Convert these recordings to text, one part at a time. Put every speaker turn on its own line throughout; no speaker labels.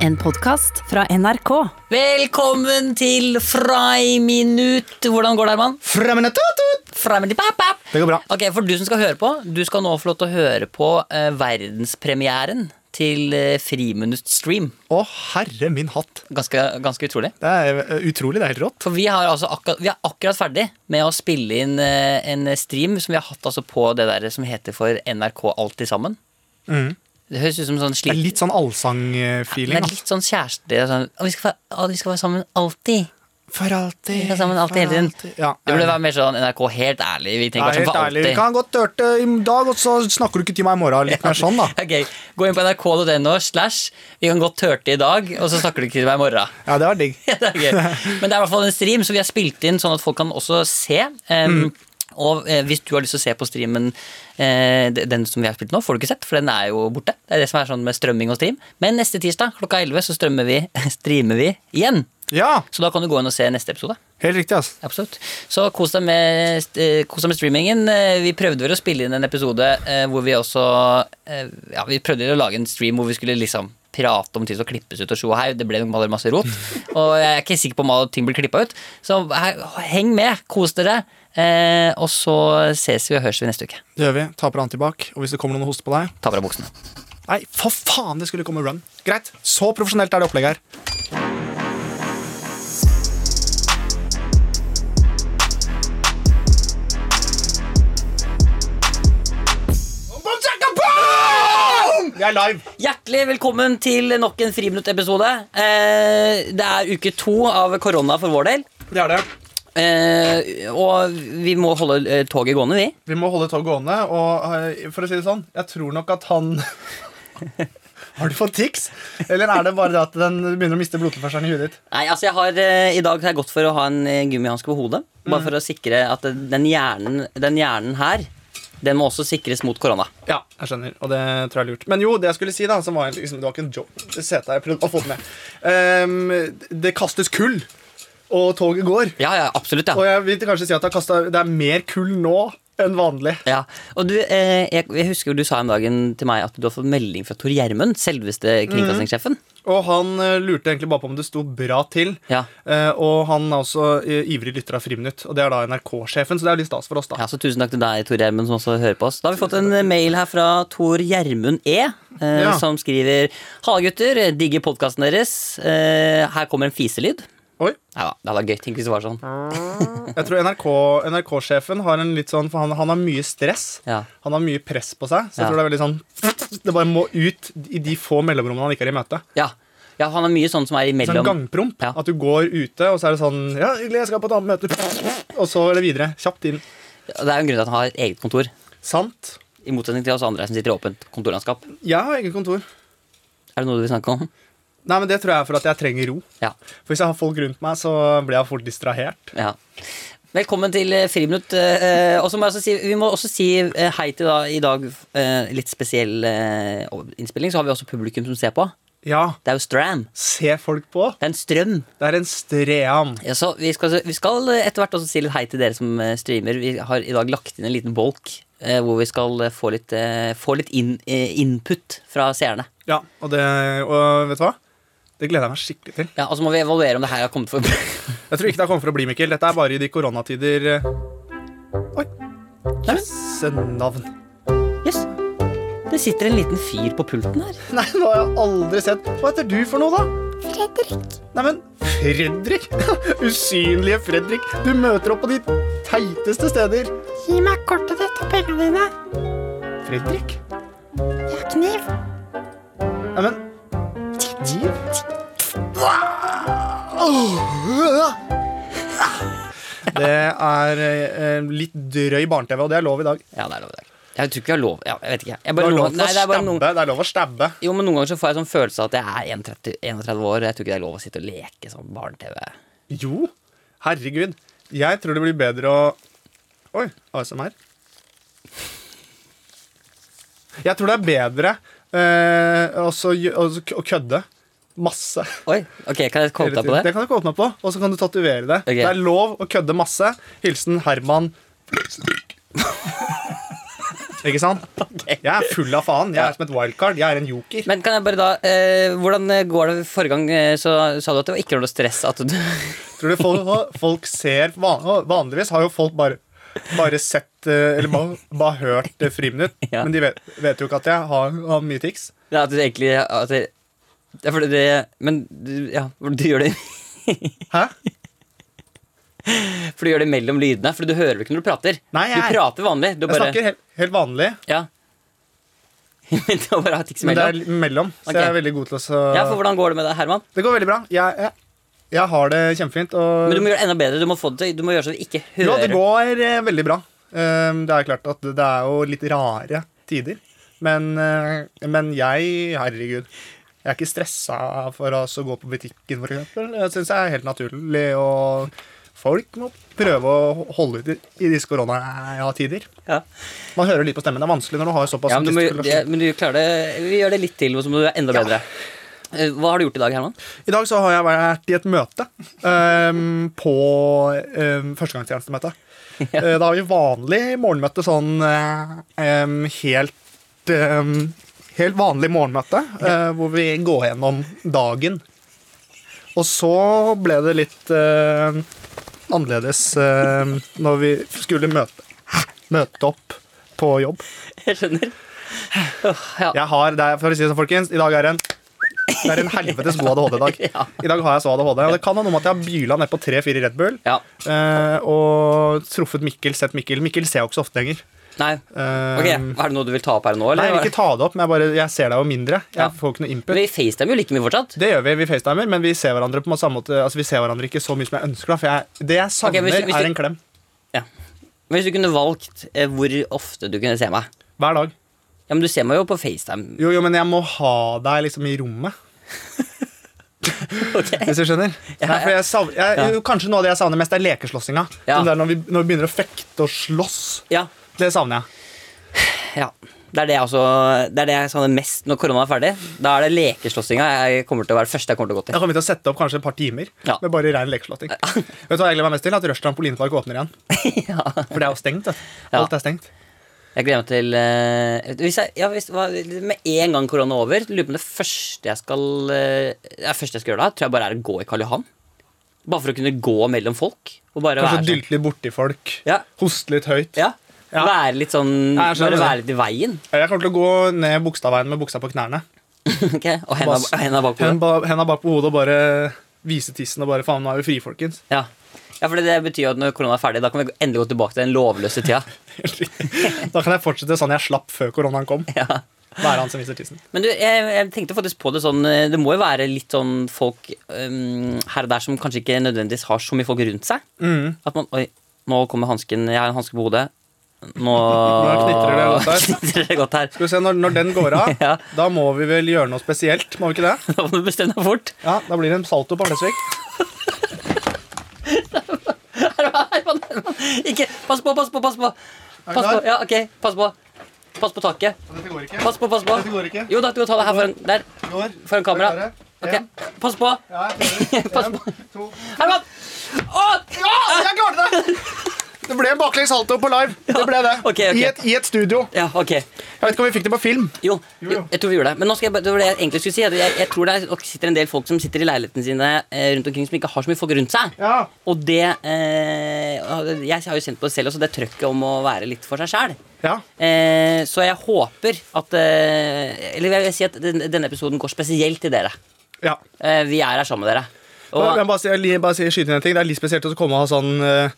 En podkast fra NRK.
Velkommen til Friminutt. Hvordan går det, Herman?
Fremmenetatut!
Freiminutt, pap, pap.
Det går bra.
Ok, For du som skal høre på, du skal nå få lov til å høre på eh, verdenspremieren til eh, Friminutt-stream.
Å, herre min hatt.
Ganske, ganske utrolig.
Det er eh, utrolig. Det er helt rått.
For vi, har altså akkurat, vi er akkurat ferdig med å spille inn eh, en stream som vi har hatt altså på det der som heter for NRK Alltid sammen. Det høres ut som sånn
Mm. Det er
slik...
litt sånn
Det
allsang-feeling. altså.
er
ass.
litt sånn kjæreste sånn, «Å, vi, skal være, å, vi skal være sammen alltid.
For alltid.
Vi skal være sammen sånn alltid hele tiden.
alltid. Ja,
det burde
jeg-
være mer sånn NRK helt ærlig. Vi
Ja,
trenger ikke være
helt
sånn for
ærlig. Vi
alltid.
kan godt dørte i dag, og så snakker du ikke til meg i morgen. Litt mer sånn, da.
Ok, Gå inn på nrk.no slash Vi kan godt tørte i dag, og så snakker du ikke til meg i morgen.
Ja, det var digg.
Ja, det er gøy. Men det er i hvert fall en stream, så vi har spilt inn sånn at folk kan også se.
Mm.
Em, Og eh, hvis du har lyst til å se på streamen, eh, de- den som vi har spilt nå, får du ikke sett, for den er jo borte. Det er det som er sånn med strømming og stream. Men neste tirsdag klokka 11 så strømmer vi, streamer vi igjen.
Ja,
Så da kan du gå inn og se neste episode.
helt riktig, ass.
Absolutt. Så kos deg med, eh, kos deg med streamingen. Eh, Vi prøvde vel å spille inn en episode eh, hvor vi også eh, Ja, vi prøvde å lage en stream hvor vi skulle liksom prate om ting som klippes ut og sjo og hei. Det ble nok bare masse rot. Og jeg er ikke sikker på om alle ting blir klippa ut. Så he- heng med, kos dere. Eh, og så ses vi og høres vi neste uke.
Det gjør vi. Ta på antibac. Og hvis det kommer noen og hoster på deg
Ta på deg buksene.
Nei, for faen, det skulle komme run. Greit. Så profesjonelt er det opplegget her. Vi er live!
Hjertelig velkommen til nok en Friminutt-episode. Eh, det er uke to av korona for vår del.
Det er det.
Eh, og vi må holde eh, toget gående, vi.
Vi må holde tog gående, og eh, for å si det sånn, jeg tror nok at han Har du fått tics? Eller er det bare det at den begynner å miste blodtilførselen i huet ditt?
Nei, altså jeg har eh, I dag har jeg gått for å ha en eh, gummihanske på hodet. Bare for å sikre at eh, den hjernen, den hjernen her Den må også sikres mot korona.
Ja, jeg skjønner, og det tror jeg er lurt. Men jo, det jeg skulle si, da, som var liksom, det var ikke en joke. Det setet jeg prøvde å få det med. Ehm, det kastes kull, og toget går.
Ja, ja, absolutt.
Og
Ja.
jeg vil kanskje si at det, har kastet, det er mer kull nå enn vanlig.
ja. Og du, eh, jeg, jeg husker jo du sa en dag til meg at du har fått melding fra Tor Gjermund, selveste kringkastingssjefen.
Og han eh, lurte egentlig bare på om det sto bra til.
Ja.
Eh, og han er også eh, ivrig lytter av Friminutt, og det er da NRK-sjefen, så det er jo litt stas for oss, da.
Ja, så Tusen takk til deg, Tor Gjermund, som også hører på oss. Da har vi fått en eh, mail her fra Tor Gjermund E, eh,
Ja.
som skriver Halla, gutter. Digger podkasten deres. Eh, her kommer en fiselyd.
Oi.
Nei da, det hadde vært gøy. Tenk hvis det var sånn.
Jeg tror NRK-sjefen har en litt sånn For han, han har mye stress.
Ja.
Han har mye press på seg, så jeg
Ja.
tror det er veldig sånn Det bare må ut i de få mellomrommene han ikke er i møte.
Ja. ja, han har mye sånn som er
Sånn
imellom.
gangpromp.
Ja.
At du går ute, og så er det sånn Ja, hyggelig, jeg skal på et annet møte. Og så er det videre. Kjapt inn.
Det er jo en grunn til at han har et eget kontor.
Sant.
I motsetning til oss andre som sitter i åpent kontorlandskap.
Jeg har eget kontor.
Er det noe du vil snakke om?
Nei, men Det tror jeg er for at jeg trenger ro.
Ja.
For Hvis jeg har folk rundt meg, så blir jeg fort distrahert.
ja. Velkommen til eh, Friminutt. eh, eh, Og så må jeg også si, vi må også si eh, hei til da, i dag eh, litt spesiell eh, innspilling. Så har vi også publikum som ser på.
Ja,
Det er jo Stram.
se folk på.
Det er en strøm.
Det er en stream.
Ja, så vi skal, vi skal eh, etter hvert også si litt hei til dere som eh, streamer. Vi har i dag lagt inn en liten bolk eh, hvor vi skal eh, få litt, eh, få litt inn- eh, input fra seerne.
Ja, og det Og vet du hva? Det gleder jeg meg skikkelig til.
Ja, Og så må vi evaluere om det her har kommet for
Jeg tror ikke det kommer for å bli, Mikkel. Dette er bare i de koronatider eh, Oi. Jøsse navn.
Yes. Det sitter en liten fyr på pulten her.
Nei, nå har jeg aldri sett Hva heter du for noe, da? Fredrik. Nei, men Fredrik? Usynlige Fredrik. Du møter opp på de teiteste steder.
Gi meg kortet ditt og pengene dine.
Fredrik?
Jeg har kniv.
Nei, men Kniv? Det er eh, litt drøy barne-TV, og det er lov i dag.
Ja, det er lov i dag. Jeg tror ikke jeg har lov. Ja, jeg vet ikke. Jeg
Det
bare
er
noen,
lov,
nei, det er bare
å
noen,
stabbe. Det er lov å stabbe.
jo, men noen ganger så får jeg sånn følelse av at jeg er 31, 31 år. og Jeg tror ikke det er lov å sitte og leke sånn barne-TV.
Jo, herregud. Jeg tror det blir bedre å Oi, ASMR. Jeg tror det er bedre eh, også, gjø- også k- å kødde masse.
Oi, ok, Kan jeg komme
hele
deg på
tiden.
det?
kan du ikke åpne opp på, og så kan du tatovere det.
Ok.
Det er lov å kødde masse. Hilsen Herman Ikke sant? Jeg er full av faen. Jeg er som et wildcard. Jeg er en joker.
Men kan jeg bare da eh, Hvordan eh, går det forrige gang? eh, Så sa du at det var ikke noe stress at du
Tror du folk, folk ser van- Vanligvis har jo folk bare bare sett eh, Eller bare, bare hørt eh, friminutt.
Ja.
Men de vet, vet jo ikke at jeg har, har mye tics.
Det er at du egentlig at det, det er fordi det Men du, ja, du gjør det
Hæ?
For du gjør det mellom lydene, for du hører det ikke når du prater.
Nei, jeg-
Du prater vanlig. Du
Jeg
bare,
snakker helt, helt vanlig,
Ja. Men det er bare å ha tics
men det er
imellom.
litt øh, mellom. Så
Ok.
jeg er veldig god til å så-
Ja, for hvordan går det med deg, Herman?
Det går veldig bra. Jeg, jeg, jeg har det kjempefint. Og
Men du må gjøre det enda bedre. Du må få det til Du må gjøre så du ikke hører
Jo, det går eh, veldig bra. Ehm, det er klart at det, det er jo litt rare tider. Men, eh, men jeg, herregud Jeg er ikke stressa for oss å gå på butikken, f.eks. Jeg syns jeg er helt naturlig. Og folk må prøve å holde ut i, i disse koronatider.
Ja.
Man hører litt på stemmen. Det er vanskelig når du har såpass
Ja, men, du må,
gestikulasjon.
det, men du klarer det Vi gjør det litt til, og så må du være enda bedre. Eh, Hva har du gjort i dag, Herman?
I dag så har jeg vært i et møte ehm, på um, førstegangstjenestemøte. Eh, Da har vi vanlig morgenmøte, sånn eh, ehm, helt ehm, Helt vanlig morgenmøte, eh, hvor vi går gjennom dagen. Og så ble det litt eh, annerledes eh, når vi skulle møte, møte opp på jobb.
Jeg skjønner. Åh, Ja.
Jeg har, det er, for å si det sånn, folkens, I dag er en det er en helvetes god ADHD-dag.
Ja.
I dag har jeg så ADHD. Og det kan ha noe med at jeg har byla ned på 3-4 Red Bull.
ja.
eh, og truffet Mikkel, sett Mikkel. Mikkel ser jeg jo ikke så ofte lenger.
Nei.
Eh,
Ok, Er det noe du vil ta opp her nå,
Nei,
eller?
jeg vil ikke ta det opp, men jeg, bare, jeg ser deg jo mindre. Jeg
Ja.
får ikke noe input.
Men vi facetimer jo like mye fortsatt.
Det gjør vi. Vi facetimer, men vi ser hverandre på samme måte Altså vi ser hverandre ikke så mye som jeg ønsker. Da, for jeg, det jeg savner,
hvis du- hvis du-
er en klem.
Ja. Men hvis du kunne valgt eh, hvor ofte du kunne se meg
Hver dag.
Ja, men du ser meg jo på FaceTime.
Jo, jo, men jeg må ha deg liksom i rommet. Hvis du skjønner? Nei, for jeg savner, jeg,
Ja.
jo, kanskje noe av det jeg savner mest, er lekeslåssinga.
Ja.
Den der Når, vi- når vi begynner å fekte og slåss.
Ja,
Det savner jeg.
ja. Det er det jeg, også, det er det jeg savner mest når korona er ferdig. Da er det lekeslåssinga jeg kommer til å være det første jeg kommer til å gå
Jeg
til.
kommer til å sette opp kanskje et par timer
Ja.
med bare rein lekeslåtting. Vet du hva jeg gleder meg mest til? At Rush trampolinepark åpner igjen. For det er jo stengt. vet du.
Ja.
Alt er stengt.
Jeg gleder meg til eh, hvis jeg, ja, hvis, hva, Med en gang korona er over, lurer på om det første jeg skal eh, ja, første jeg skal gjøre da, tror jeg bare er å gå i Karl Johan. Bare for å kunne gå mellom folk. Og bare
Kanskje
være sånn.
dylte litt borti folk.
Ja.
Hoste litt høyt.
Ja.
Ja.
Være litt sånn
Ja, jeg skjønner
Bare
det.
være litt i veien.
Jeg kommer til å gå ned Bogstadveien med buksa på knærne.
Ok, Og henda,
Bare s-
henda bak hodet.
Hen ba- Henda bak på hodet og bare vise tissen og bare faen, nå er vi frie, folkens.
Ja. ja, for det betyr jo at når korona er ferdig, da kan vi endelig gå tilbake til den lovløse tida.
Da kan jeg fortsette sånn jeg slapp før koronaen kom.
Ja.
Være han som viser tissen.
Men du, jeg, jeg tenkte faktisk på det sånn eh, Det må jo være litt sånn folk um, her og der som kanskje ikke nødvendigvis har så mye folk rundt seg.
Mm.
At man Oi, nå kommer hansken. Jeg har en hanske på hodet. Nå
Nå knitrer det godt her.
knitrer det godt her.
Skal vi se, når, når den går av,
Ja.
da må vi vel gjøre noe spesielt, må vi ikke det?
Da må du bestemme deg fort.
Ja, Da blir det en salto på Arnesvik.
Herman, Herman, Ikke Pass på, pass på, pass på. Pass på,
klar?
ja, ok, pass på. Pass på taket.
Dette går ikke.
Pass på, pass på.
Dette går ikke.
Jo da, du kan ta det her foran. Der.
Går.
Foran kamera.
Er du
Ok,
klare?
Pass på.
Ja, jeg prøver. En, to
Herman! Å!
Ja, jeg klarte det! Det ble en baklengs salto på live. Det ble det.
Ok, ok.
I, et, I et studio.
Ja, ok.
Jeg vet ikke om vi fikk det på film.
Jo,
Jo, jo.
jeg, jeg tror vi gjorde det. Men nå skal jeg, bare- det var det jeg egentlig skulle si. at Jeg, jeg tror det er, nok sitter en del folk som sitter i leilighetene sine eh, rundt omkring som ikke har så mye folk rundt seg.
Ja.
Og det eh, Jeg har jo kjent på det selv også, det trøkket om å være litt for seg sjæl.
Ja.
Eh, så jeg håper at eh, Eller jeg vil si at den, denne episoden går spesielt til dere.
ja.
Eh, vi er her sammen med dere.
Og, jeg
Og,
bare, si- jeg, li- bare si, skyte inn en ting. Det er litt spesielt å komme og ha sånn, eh,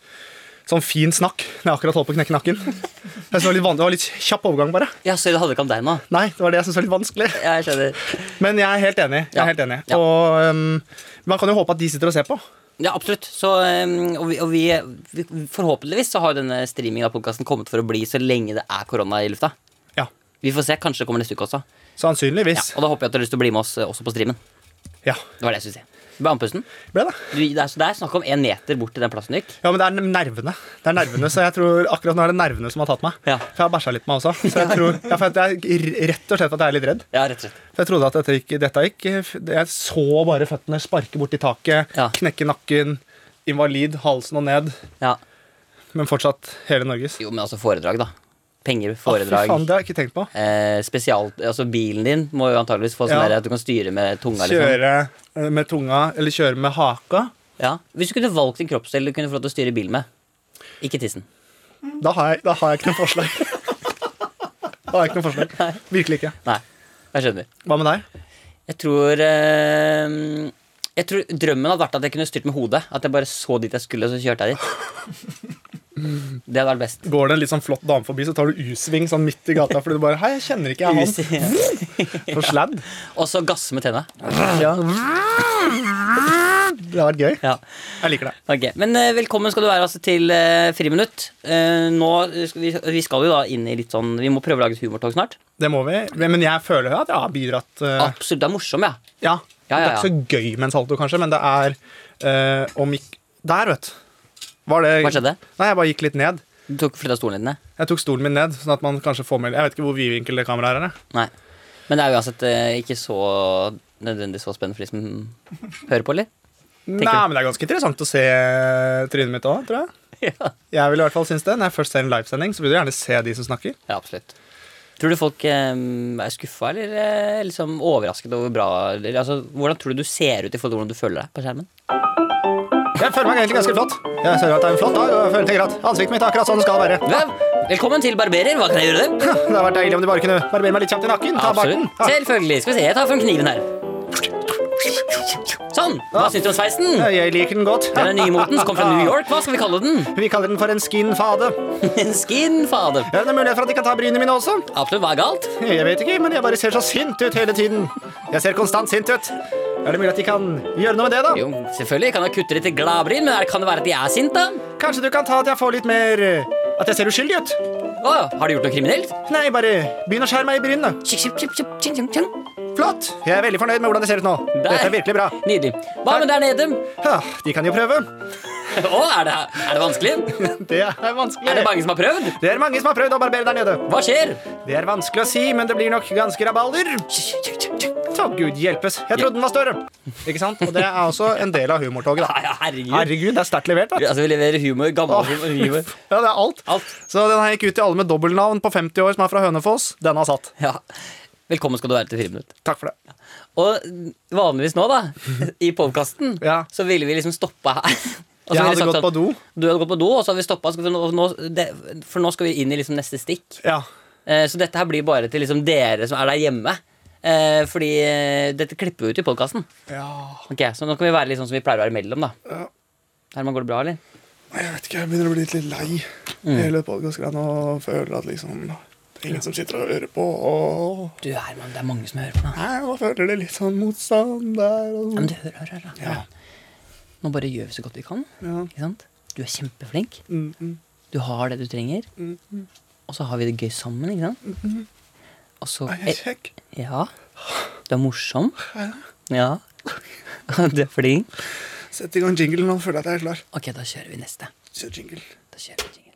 sånn fin snakk når jeg akkurat holdt på å knekke nakken. Jeg synes Det var litt vanlig, det var litt kjapp overgang, bare.
ja, sorry, det handler ikke om deg nå.
Nei, det var det jeg syntes var litt vanskelig.
Jeg skjønner.
Men jeg er helt enig. Jeg
Ja.
er helt enig.
Ja.
Og ehm, man kan jo håpe at de sitter og ser på.
Ja, absolutt. Så, um, og vi, og vi, vi, forhåpentligvis så har denne streamingen av podkasten kommet for å bli så lenge det er korona i lufta.
Ja,
Vi får se. Kanskje det kommer neste uke også. Ja,
Sannsynligvis.
og da håper jeg at du har lyst til å bli med oss eh, også på streamen.
Ja.
Det var det jeg skulle si. Du ble andpusten.
Ble det?
Du, det, er, så det er snakk om én meter bort til den plassen du gikk.
Ja, men det er nervene. Det er nervene, Så jeg tror akkurat nå er det nervene som har tatt meg.
Ja.
For jeg har bæsja litt med meg også. Så jeg tror, ja, for jeg, jeg- rett og slett at jeg er litt redd.
Ja, rett og slett.
For jeg trodde at dette gikk, dette gikk eh, Jeg så bare føttene sparke borti taket,
Ja.
knekke nakken, invalid, halsen og ned.
Ja.
Men fortsatt hele Norges.
Jo, men altså foredrag, da. penger,
Fy faen,
foredrag.
det har jeg ikke tenkt på.
Eh, spesial, altså Bilen din må jo antageligvis få sånn
Ja.
der at du kan styre med tunga. Liksom.
Kjøre eh, med tunga, eller kjøre med haka.
Ja. Hvis du kunne valgt en kroppsdel du kunne få lov til å styre bil med. Ikke tissen.
Da har jeg, da har jeg ikke noe forslag. Da har jeg ikke noe forslag. Virkelig ikke.
Nei, jeg skjønner.
Hva med deg?
Jeg tror, eh, jeg tror Drømmen hadde vært at jeg kunne styrt med hodet. At jeg bare så dit jeg skulle, og så kjørte jeg dit. Det hadde vært best.
Går det en litt sånn flott dame forbi, så tar du U-sving sånn midt i gata fordi du bare Hei, jeg kjenner ikke jeg han. For sladd.
Og så gasse med tenna.
Ja. Det har vært gøy.
Ja.
Jeg liker det.
Ok, Men eh, velkommen skal du være altså, til eh, Friminutt. Eh, nå skal vi, vi skal jo da inn i litt sånn Vi må prøve å lage et humortog snart.
Det må vi. Men jeg føler jo at jeg har bidratt. eh,
Absolutt, det er morsom, Ah, ja.
Ja.
Ja, ja,
Det er ikke så gøy med en salto, kanskje, men det er eh, om ikk... Der, vet du. Var det
Hva skjedde?
Nei, jeg bare gikk litt ned.
Du tok flytta stolen din ned?
Jeg tok stolen min ned, sånn at man kanskje får med Jeg vet ikke hvor vidvinkel det kameraet er. jeg.
Nei. Men det er uansett eh, ikke så nødvendigvis så spennende for de som hører på, eller?
Nei, men det er ganske interessant å se eh, trynet mitt òg, tror jeg.
Ja.
Jeg vil i hvert fall synes det. Når jeg først ser en livesending, så vil du gjerne se de som snakker.
Ja, absolutt. Tror du folk eh, er skuffa eller eh, liksom overrasket over hvor bra eller, altså, Hvordan tror du du ser ut i forhold til hvordan du føler deg på skjermen?
Jeg føler meg egentlig ganske flott. Jeg ser at det er en flott dag, og jeg føler tenker at ansiktet mitt er akkurat sånn det skal være.
Vel, Velkommen til barberer. Hva kan jeg gjøre deg?
Det hadde vært deilig om du bare kunne barbere meg litt kjapt i nakken. Ta barten.
Absolutt.
Ja.
Selvfølgelig. Skal vi se, jeg tar fram kniven her. Sånn. Hva syns du om sveisen?
Jeg liker den godt.
Den er nymoten, som kom fra New York. Hva skal vi kalle den?
Vi kaller den for en skinfade.
En skinfade.
Ja, Det er mulighet for at de kan ta brynene mine også.
Absolutt. Hva er galt?
Jeg vet ikke, men jeg bare ser så sint ut hele tiden. Jeg ser konstant sint ut. Er det mulig at de kan gjøre noe med det, da?
Jo, selvfølgelig. Kan jeg kutte litt i gladbryn, men er, kan det være at de er sinte?
Kanskje du kan ta at jeg får litt mer eh, At jeg ser uskyldig ut?
Å, har de gjort noe kriminelt?
Nei, bare begynn å skjære meg i brynene.
Tjing, tjing, tjing, tjing, tjing, tjing.
Flott! Jeg er veldig fornøyd med hvordan det ser ut nå.
Der.
Dette er virkelig bra.
Nydelig. Hva med der nede?
Ja, de kan jo prøve.
Å, er det, er det vanskelig?
Det er vanskelig.
Er det mange som har prøvd?
Det er mange som har prøvd å barbere der nede.
Hva skjer?
Det er vanskelig å si, men det blir nok ganske rabalder. Å, gud hjelpes. Jeg trodde den var større. Ikke sant? Og det er også en del av humortoget,
Nei,
da.
herregud.
Herregud, det er sterkt levert. da.
Altså, vi leverer humor, gammel
Åh.
humor, humor.
Ja, det er alt.
Alt.
Så den her gikk ut til alle med dobbeltnavn på 50 år som er fra Hønefoss. Den har satt.
Ja. Velkommen skal du være til Friminutt.
Takk for det.
Og vanligvis nå, da, i podkasten,
Ja.
så ville vi liksom stoppa her. Og så
Jeg
ville
hadde
vi sagt
gått på do.
Du hadde gått på do, og så hadde vi stoppa. For, nå- det- for nå skal vi inn i liksom neste stikk.
Ja.
Eh, Så dette her blir bare til liksom dere som er der hjemme. Eh, Fordi eh, dette klipper vi ut i podkasten. Ok, så nå kan vi være litt sånn som vi pleier å være imellom, da.
Ja.
Herman, går det bra, eller?
Jeg vet ikke, jeg begynner å bli litt, litt lei
Mm.
hele podkastgreiene og føler at liksom det er ingen som sitter og hører på. Og
Du, Herman, det er mange som hører på nå.
nei, nå føler det litt sånn motstand der. Og sånn.
Men du, hør, hør, hør. hør. Nå bare gjør vi så godt vi kan. Ikke sant? Du er kjempeflink.
Mm,
Du har det du trenger. Og så har vi det gøy sammen, ikke sant? Og så eh,
Nei,
Eh.
jeg er kjekk.
Ja. Du er morsom. Ja. Du er flink.
Sett i gang jinglen. Nå føler jeg at jeg er klar.
Ok, da kjører vi neste.
Kjør jingle.
Da kjører vi jingle.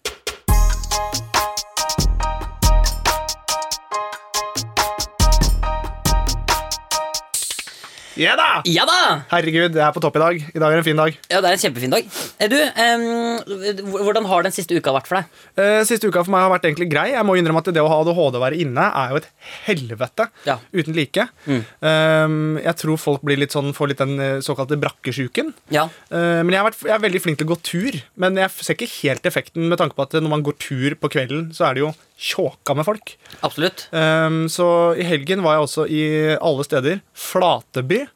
Ja da!
Ja da!
Herregud, jeg er på topp i dag. I dag er en fin dag.
Ja, det er en kjempefin dag. Eh, Du, ehm, h- hvordan har den siste uka vært for deg?
Eh, Siste uka for meg har vært egentlig grei. Jeg må innrømme at det å ha ADHD og være inne er jo et helvete
Ja. Mm.
uten like. Eh, jeg tror folk blir litt sånn, får litt den eh, såkalte brakkesjuken.
Ja.
Eh, Men jeg, har vært, jeg er veldig flink til å gå tur, men jeg ser ikke helt effekten med tanke på at når man går tur på kvelden, så er det jo tjåka med folk.
Absolutt.
Ehm, så i helgen var jeg også i alle steder. Flateby.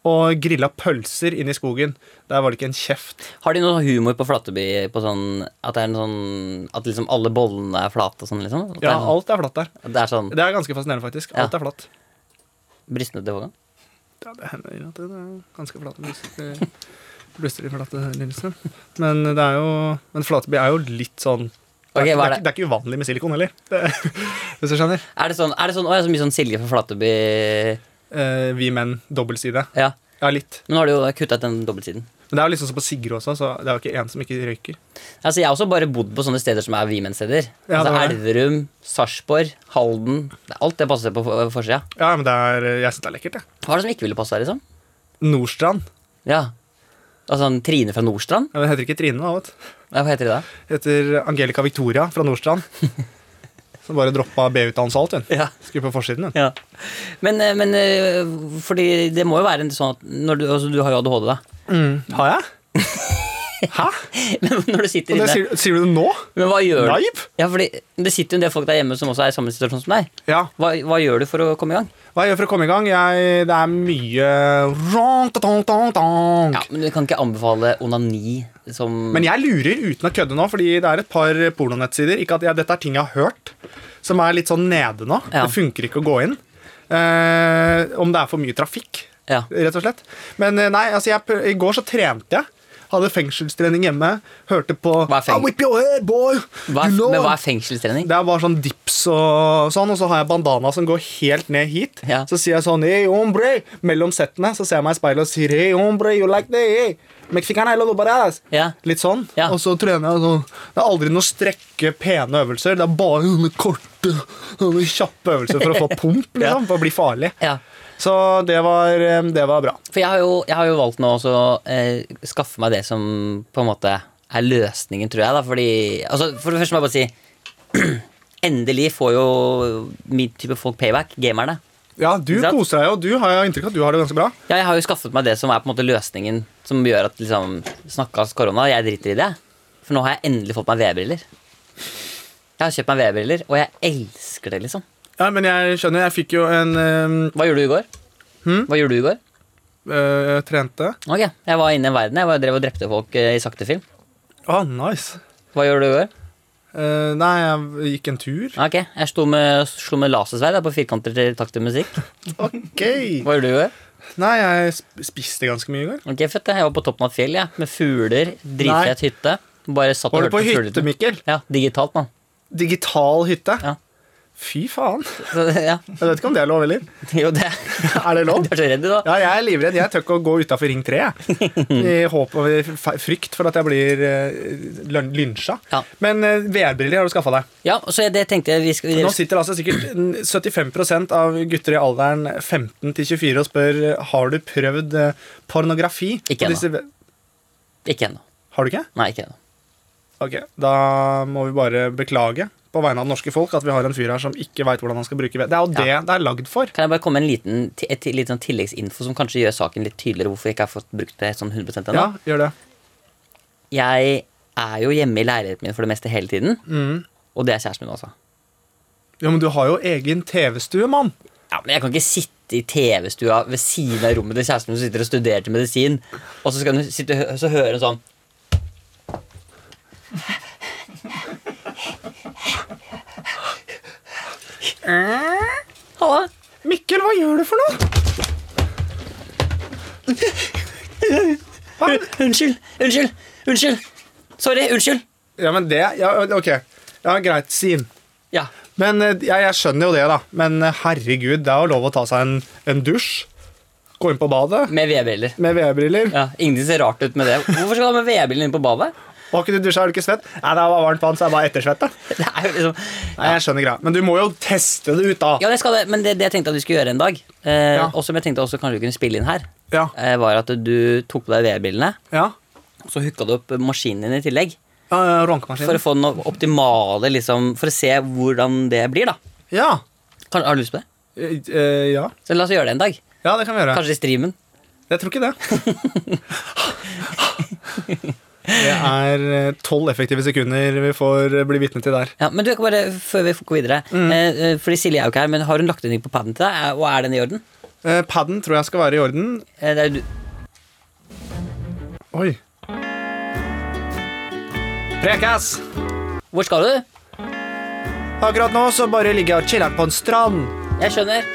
Og grilla pølser inne i skogen. Der var det ikke en kjeft.
Har de noe humor på Flateby? På sånn, at det er en sånn At liksom alle bollene er flate og sånn, liksom? At
Ja,
det,
Alt er flatt
er,
der.
sånn- at det er sånn
Det er ganske fascinerende, faktisk. Alt
Ja.
er flatt.
bristende til vågen?
Ja, det hender at det er ganske flate bluster. Bluster i flate linser. Men det er jo Men Flateby er jo litt sånn det er,
Ok, hva
ikke- det,
er
er, ikke- det er ikke uvanlig med silikon heller, Det- hvis du skjønner.
Er det sånn, er det sånn Å, jeg er så mye sånn Silje fra Flateby
Eh, vi menn, dobbeltside.
Ja.
Ja, litt.
Men nå har de jo kutta ut den dobbeltsiden.
Men det er jo liksom sånn på Sigurd også, så det er jo ikke én som ikke røyker.
Altså, jeg har også bare bodd på sånne steder som er Vimen-steder.
Ja,
altså,
det var det.
Elverum, Sarpsborg, Halden. Det er Alt det passer på for- forsida.
Ja, men det er, jeg syns det er lekkert, jeg.
Hva er det som ikke ville passe her, liksom?
Nordstrand.
Ja. Altså, sånn Trine fra Nordstrand?
Ja, men Hun heter ikke Trine, da. vet du.
Nei, Hva heter de da?
Hun heter Angelica Victoria fra Nordstrand. Så bare droppa BU-utdannelse og alt, hun.
Ja.
Skulle på forsiden, hun.
Ja. Men, eh, men eh, fordi det må jo være en sånn at når du, altså, du har jo ADHD, da.
Mm. Har jeg? Hæ?
Men når du sitter
Og det
inne
sier, sier du det nå?
Men hva gjør du?
Live?
Ja, fordi Det sitter jo en del folk der hjemme som også er i samme situasjon som deg.
Ja.
Hva, hva gjør du for å komme i gang?
Hva jeg gjør for å komme i gang? Jeg, det er mye Ron-ta-tong-tong-tong.
Ja, men Du kan ikke anbefale onani som
Men jeg lurer uten å kødde nå, fordi det er et par pornonettsider. Ikke at jeg, dette er ting jeg har hørt, som er litt sånn nede nå.
Ja.
Det funker ikke å gå inn. Eh, om det er for mye trafikk,
Ja.
rett og slett. Men eh, nei, altså, jeg, pr- i går så trente jeg. Hadde fengselstrening hjemme. Hørte på
Hva er feng-
I whip your head, boy!
hva er,
You know
Men hva
I'm
er fengselstrening?
det er bare sånn dips og sånn, og så har jeg bandana som går helt ned hit.
Ja.
Så sier jeg sånn hey, hombre, mellom settene. Så ser jeg meg i speilet og sier hey, hombre, you like that, hey. Mexican, I love badass.
Ja.
Litt sånn.
Ja.
Og så trener jeg sånn. Det er aldri noen strekke, pene øvelser. Det er bare sånne korte, sånne kjappe øvelser for å få pump, liksom. For å bli farlig.
Ja.
Så det var, eh, det var bra.
For jeg har jo, jeg har jo valgt nå også å eh, skaffe meg det som på en måte er løsningen, tror jeg. da Fordi, altså For det første må jeg bare si Endelig får jo min type folk payback, gamerne.
Ja, du
Ikke sant?
koser deg jo. Du har jeg inntrykk av at du har det ganske bra.
Ja, jeg har jo skaffet meg det som er på en måte løsningen som gjør at liksom, snakkas korona. Jeg driter i det. For nå har jeg endelig fått meg VR-briller. Jeg har kjøpt meg VR-briller, og jeg elsker det, liksom.
Ja, men jeg skjønner. Jeg fikk jo en eh,
Hva gjorde du i går?
Hm?
Hva gjorde du i går?
eh, Trente.
Ok, Jeg var inne i en verden. Jeg var, drev og drepte folk eh, i sakte film.
Ah, nice.
Hva gjorde du i går?
Eh, nei, jeg gikk en tur.
Ok, Jeg sto med, slo med lasersverd jeg, på firkanter til takt til musikk.
Ok
Hva gjorde du i går?
Nei, jeg sp- spiste ganske mye i går.
Ok, fett, Jeg var på toppen av et fjell jeg, med fugler. Dritfett hytte. Bare satt og
Var du
hørte
på
på
hytte,
fuglelyden.
Mikkel?
Ja, digitalt, mann.
Digital hytte?
Ja.
Fy faen.
Så, ja.
Jeg vet ikke om det er lov heller.
Jo, det
Er det lov?
Du er så redd, du, da.
Sånn? Ja, jeg er livredd. Jeg tør ikke å gå utafor Ring 3. Jeg. I håp og i f- frykt for at jeg blir eh, løn- lynsja.
Ja.
Men eh, VR-briller har du skaffa deg.
Ja, så jeg- det tenkte jeg vi skal
Nå sitter altså sikkert 75 av gutter i alderen 15 til 24 og spør eh, Har du prøvd eh, pornografi.
Ikke
Og
ennå.
disse-
Ikke ennå.
Har du ikke?
Nei, ikke ennå.
Ok, Da må vi bare beklage på vegne av det norske folk at vi har en fyr her som ikke veit hvordan han skal bruke ved. Det er jo det det er lagd for.
Kan jeg bare komme med en liten, ti- et ti- litt sånn tilleggsinfo som kanskje gjør saken litt tydeligere hvorfor jeg ikke har fått brukt det sånn 100
Ja,
ennå?
gjør det.
Jeg er jo hjemme i leiligheten min for det meste hele tiden, og det er kjæresten min også.
Ja, Men du har jo egen TV-stue, mann.
Ja, men jeg kan ikke sitte i TV-stua ved siden av rommet til kjæresten min som sitter og studerer til medisin, og så skal hun sitte og hø- så høre en sånn Halla.
Mikkel, hva gjør du for noe?
Un- Unnskyld. Unnskyld. Unnskyld. Sorry. Unnskyld.
Ja, men det ja, Ok. Ja, Greit, Sin.
Ja.
Men eh, ja, jeg skjønner jo det, da. Men eh, herregud, det er jo lov å ta seg en, en dusj. Gå inn på badet
Med vedbriller.
med VR-briller.
Ja, Ingenting ser rart ut med det. Hvorfor skal du ha med vedbriller inn på badet?
Har ikke du dusja, er du ikke svett? Nei, det var varmt vann, så jeg bare ettersvetta.
Det er jo liksom
Nei, jeg skjønner greia. Men du må jo teste det ut, da.
Ja, det skal det, men det, det jeg tenkte at vi skulle gjøre en dag, eh,
Ja.
og som jeg tenkte også kanskje vi kunne spille inn her,
Ja.
eh, var at du tok på deg vedbrillene,
Ja.
og så hooka du opp maskinen din i tillegg.
Ja, ja,
For
Rankemaskinen.
å få den optimale, liksom For å se hvordan det blir, da.
Ja.
Kan, har du lyst på det?
Eh, eh, ja.
Så la oss gjøre det en dag.
ja, det kan vi gjøre.
Kanskje i streamen.
Jeg tror ikke det. Det er eh, tolv effektive sekunder vi får eh, bli vitne til der.
Ja, men du, jeg kan bare, før vi går videre eh, eh, Fordi Silje er jo ikke her, men har hun lagt inn ting på paden til deg? Er- Og er den i orden?
Eh, Padden tror jeg skal være i orden.
Eh, det er jo du
Oi. Prekas!
Hvor skal du?
Akkurat nå så bare ligger jeg og chiller'n på en strand.
Jeg skjønner.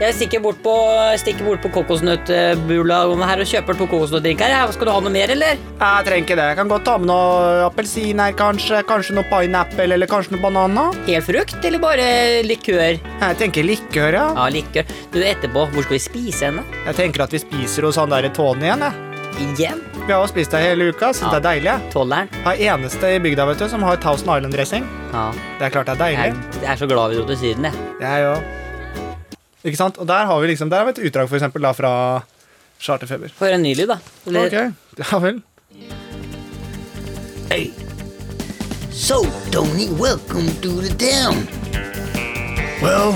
Jeg stikker bort på, stikker bort på kokosnøttbula her og kjøper to kokosnøttdrinker. her. Skal du ha noe mer, eller?
Jeg trenger ikke det. Jeg kan godt ta med noe appelsin her, kanskje. Kanskje noe pineapple, eller kanskje noe bananer.
Hel frukt, eller bare likør?
Jeg tenker likør, ja.
Ja, likør. Du, etterpå, hvor skal vi spise henne?
Jeg tenker at vi spiser hos han derre Tony igjen, jeg.
Igjen?
Vi har jo spist det hele uka, så
Ja.
det er deilig. jeg.
Tolleren?
Jeg er eneste i bygda vet du, som har Thousand Island-dressing.
Ja.
Det er klart det er
Jeg,
deilig.
jeg er så glad vi dro til Syden, jeg.
Jeg òg. Ikke sant? Og der har vi liksom, der har vi et utdrag for eksempel, da, fra Charterfeber.
Få høre en ny lyd, da. Eller-
Ok, ja vel.
So, Tony, welcome to the town.
Well,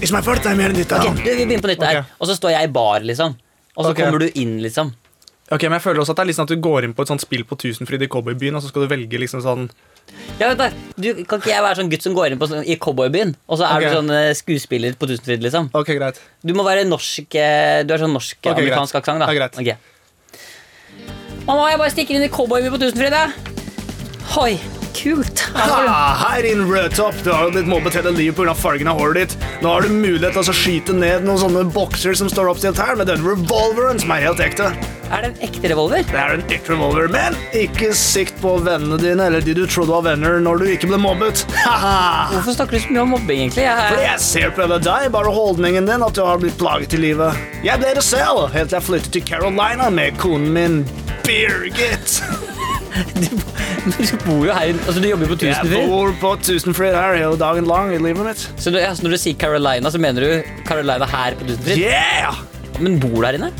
it's my first time here in this
Ok,
town.
du, vi begynner på nytt her.
Ok.
Og så står jeg i bar, liksom. Og så
Ok.
kommer du inn, liksom.
Ok, men jeg føler også at det er litt sånn at du går inn på et sånt spill på Tusenfryd i cowboybyen, og så skal du velge liksom sånn
Ja, vent da. Du, kan ikke jeg være sånn gutt som går inn på, sånn- i cowboybyen, og så er
Ok.
du sånn eh, skuespiller på Tusenfryd, liksom?
Ok, greit.
Du må være norsk eh, Du har sånn
Ok, greit.
norsk-amerikansk aksent, da.
Ja, greit.
Ok. Mamma, jeg bare stikker inn i cowboybyen på Tusenfryd, jeg. Hoi. Kult.
Ah, her in Rød Top, du har jo ditt mobbet hele livet pga. fargen av håret ditt. Nå har du mulighet til å skyte ned noen sånne bokser som står oppstilt her med den revolveren som er helt ekte.
Er det en ekte revolver?
Det er en ekte revolver, men ikke sikt på vennene dine eller de du trodde var venner når du ikke ble mobbet. Haha!
Hvorfor snakker du så mye om mobbing, egentlig? Jeg,
Jeg ser på deg, bare holdningen din, at du har blitt plaget i livet. Jeg ble det selv, helt til jeg flyttet til Carolina med konen min, Birgit.
Men du bor jo her i- Altså, du jobber jo på
Jeg
Tusenfryd.
bor på Tusenfryd her hele dagen lang i livet mitt.
Så du, ja, så når du sier Carolina, så mener du Carolina her på Tusenfryd?
Yeah!
Men bor du her inne?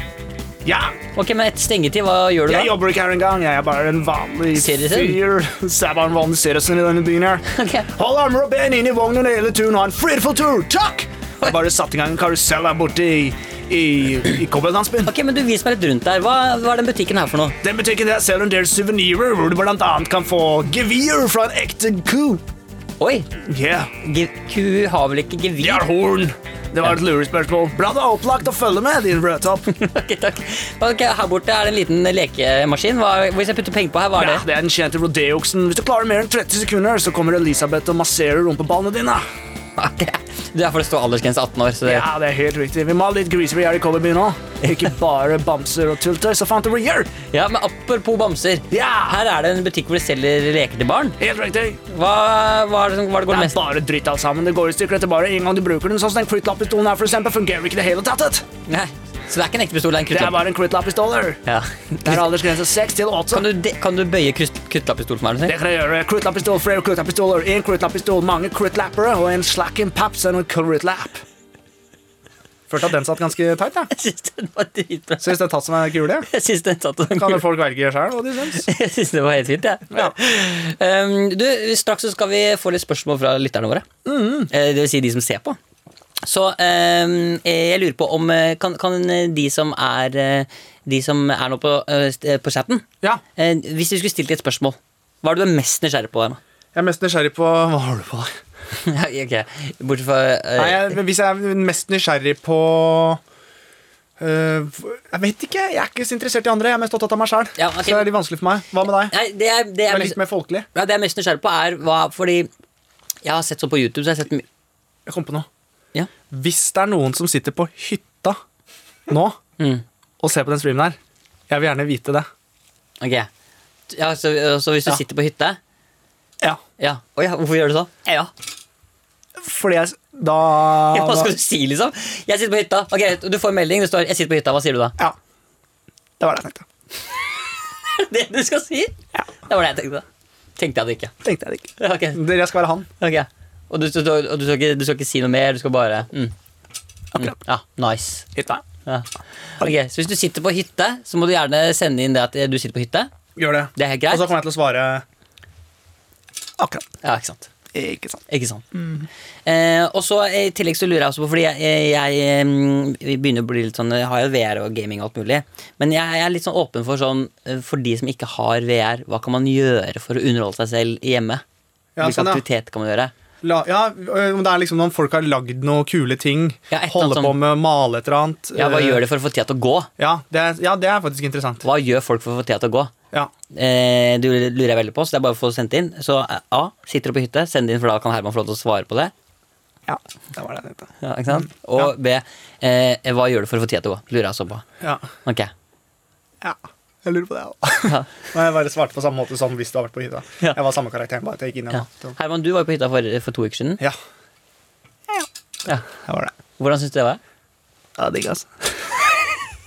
Ja!
Ok, men etter stengetid, hva gjør du da?
Jeg jobber ikke her engang. Jeg er bare en vanlig
Citizen.
fyr. Så jeg er bare en vanlig citizen i denne byen her.
Ok.
Hold armer og ben inn i vognen og hele turen. Ha en fredfull tur. Takk! Jeg bare satte i gang en karusell her borte i, i, i Kobberlandsbyen.
Ok, men du Vis meg litt rundt der. Hva, hva er den butikken her for noe?
Den butikken der selger en del suvenirer, hvor du blant annet kan få gevir fra en ekte ku.
Oi,
Yeah,
ge- ku har vel ikke
de
gevir?
har horn. Det var et lurespørsmål. Bra det er opplagt å følge med, din rødtopp.
Ok, takk. Ok, her borte er det en liten lekemaskin. Hva, hvis jeg putter penger på her, hva er
Ja,
det?
det er den kjente rodeoksen. Hvis du klarer mer enn 30 sekunder, så kommer Elisabeth og masserer rumpeballene dine.
Ok, Det er for det står aldersgrense 18 år. Så det,
Ja, det er helt riktig. Vi må ha litt griser her i Kolberby nå. Ikke bare bamser og tulter, så fanterier.
ja, Men apropos bamser.
Ja,
Her er det en butikk hvor de selger leker til barn.
helt riktig.
Hva, hva er det som hva er det
Det
går
er
mest
bare dritt alt sammen. Det går i stykker etter bare en gang du bruker den. Sånn som den krittlapppistolen her, for eksempel, fungerer ikke i det hele tatt. vet.
Nei, Så det er ikke en ekte pistol, det er en
Det er
kruttlapp?
bare en krittlapppistoler. Det
Ja.
er aldersgrense 6 til 8.
Kan du, de- kan du bøye krust- kruttlappistol for meg? er det du sier?
Det kan jeg gjøre. Krittlappistol, flere krittlappistoler, en krittlappistol, mange krittlappere og en slakken paps og en krittlapp.
Følte at den satt ganske tight, jeg.
Jeg syns den var dritbra.
Syns den tatt som en kule. jeg.
Jeg syns den satt og
Kan jo folk velge sjøl hva de syns.
Jeg synes det var helt fint, jeg. Um, du, straks så skal vi få litt spørsmål fra lytterne våre. Eh, Det vil si de som ser på. Så um, eh, jeg lurer på om eh, Kan, kan eh, de som er eh, De som er nå på, eh, st- eh, på chatten
Ja.
eh, Hvis du skulle stilt et spørsmål, hva er du er mest nysgjerrig på? Emma?
Jeg er mest nysgjerrig på Hva har du på deg?
ok, Bortsett fra eh,
Nei, jeg, hvis jeg er mest nysgjerrig på øh, Jeg vet ikke. Jeg er ikke så interessert i andre. Jeg er mest opptatt av meg sjæl.
Ja, ok.
Så det er litt vanskelig for meg. Hva med deg?
Nei, det jeg, det
Jeg
jeg,
er litt mer folkelig.
ja, det jeg er mest nysgjerrig på, er hva Fordi jeg har sett sånn på YouTube, så jeg har sett my-
Jeg kom på noe.
Ja.
Hvis det er noen som sitter på hytta nå
Mm.
og ser på den streamen her, jeg vil gjerne vite det.
Ok ja, så, så hvis du
Ja.
sitter på hytte
Ja.
Ja. Å ja, hvorfor gjør du sånn? Ja.
Fordi jeg s- da
ja. Hva skal du si, liksom? Jeg sitter på hytta. Ok, Du får en melding. Det står 'Jeg sitter på hytta'. Hva sier du da?
Ja. Det var det jeg tenkte.
Det du skal si? Ja. Det var det jeg tenkte. Tenkte jeg det ikke.
Tenkte jeg det ikke.
Ok,
Dere, jeg skal være han.
ok Og du, du, du, og du, skal, ikke, du skal ikke si noe mer? Du skal bare mm. Mm. Ja, nice.
Hytta.
Ja. Ok, Så hvis du sitter på hytte, så må du gjerne sende inn det at eh, du sitter på hytte.
Gjør det.
Det er helt greit.
Og så kommer jeg til å svare akkurat.
Ja, ikke sant?
Ikke sant.
Ikke sant. Eh, og så eh, I tillegg så lurer jeg også på, fordi jeg, eh, jeg, jeg mm, vi begynner å bli litt sånn Jeg har jo VR og gaming og alt mulig, men jeg, jeg er litt sånn åpen for sånn eh, For de som ikke har VR, hva kan man gjøre for å underholde seg selv hjemme?
Ja,
Hvilken
sånn, ja.
aktivitet kan man gjøre?
La, ja, ø, om det er liksom noen folk har lagd noen kule ting.
Ja, et eller annet
holder på
som-
med å male et eller annet. øh,
Ja, Hva gjør de for å få tida til å gå?
Ja, det er, ja, det er faktisk interessant.
Hva gjør folk for å få tida til å gå?
Ja.
Eh, det lurer jeg veldig på, så det er bare å få sendt inn. Så eh, A. Sitter du på hytte? Send det inn, for da kan Herman få lov til å svare på det.
ja, det var det jeg tenkte.
Ja, ikke sant?
Mm.
Og B. Eh, hva gjør du for å få tida til å gå? Lurer jeg også på.
Ja,
Ok.
ja. Jeg lurer på det, jeg
Ja.
Men jeg bare svarte på samme måte som hvis du har vært på hytta.
Ja.
Jeg var samme karakteren, bare at jeg gikk inn i en
Ja.
natt.
Herman, du var jo på hytta for, for to uker siden.
Ja,
Ja.
det var det.
Hvordan syns du det var?
Ja, digg, altså.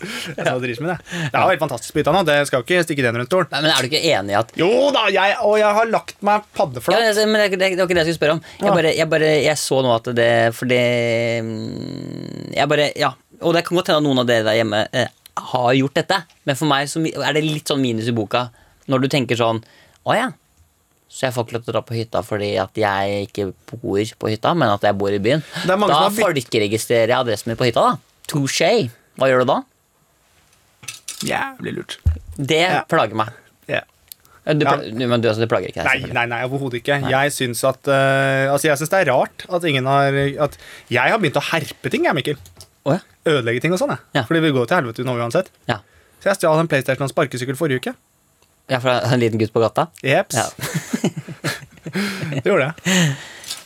Jeg skal drite med det. Det er jo helt fantastisk på hytta nå. Det skal jo ikke stikke den rundt stolen.
Nei, men Er du ikke enig i at
Jo da, jeg, og jeg har lagt meg
ja,
paddeflat.
altså, men det, det, det var ikke det jeg skulle spørre om. Jeg
Ja.
bare, jeg bare jeg så nå at det For det mm, Jeg bare Ja. Og det kan godt hende at noen av dere der hjemme eh, har gjort dette, men for meg så mi- er det litt sånn minus i boka når du tenker sånn Å ja. Så jeg får ikke lov til å dra på hytta fordi at jeg ikke bor på hytta, men at jeg bor i byen.
Det er mange
Da
som har bytt-
folkeregistrerer jeg adressen min på hytta, da. Touché. Hva gjør du da?
Jævlig lurt.
Det
Ja.
plager meg.
Ja.
Du,
Ja.
pla- du, men du, altså, det plager ikke deg?
Nei,
selvfølgelig.
nei, nei overhodet ikke. Jeg syns at eh, Altså, jeg syns det er rart at ingen har At jeg har begynt å herpe ting, jeg, Mikkel.
Å, ja.
Ødelegge ting og sånn, jeg.
Ja.
Fordi vi går til helvete nå uansett.
Ja.
Så jeg stjal en PlayStation og en sparkesykkel forrige uke.
ja, fra en liten gutt på gata?
Jeps.
Ja.
Det gjorde jeg.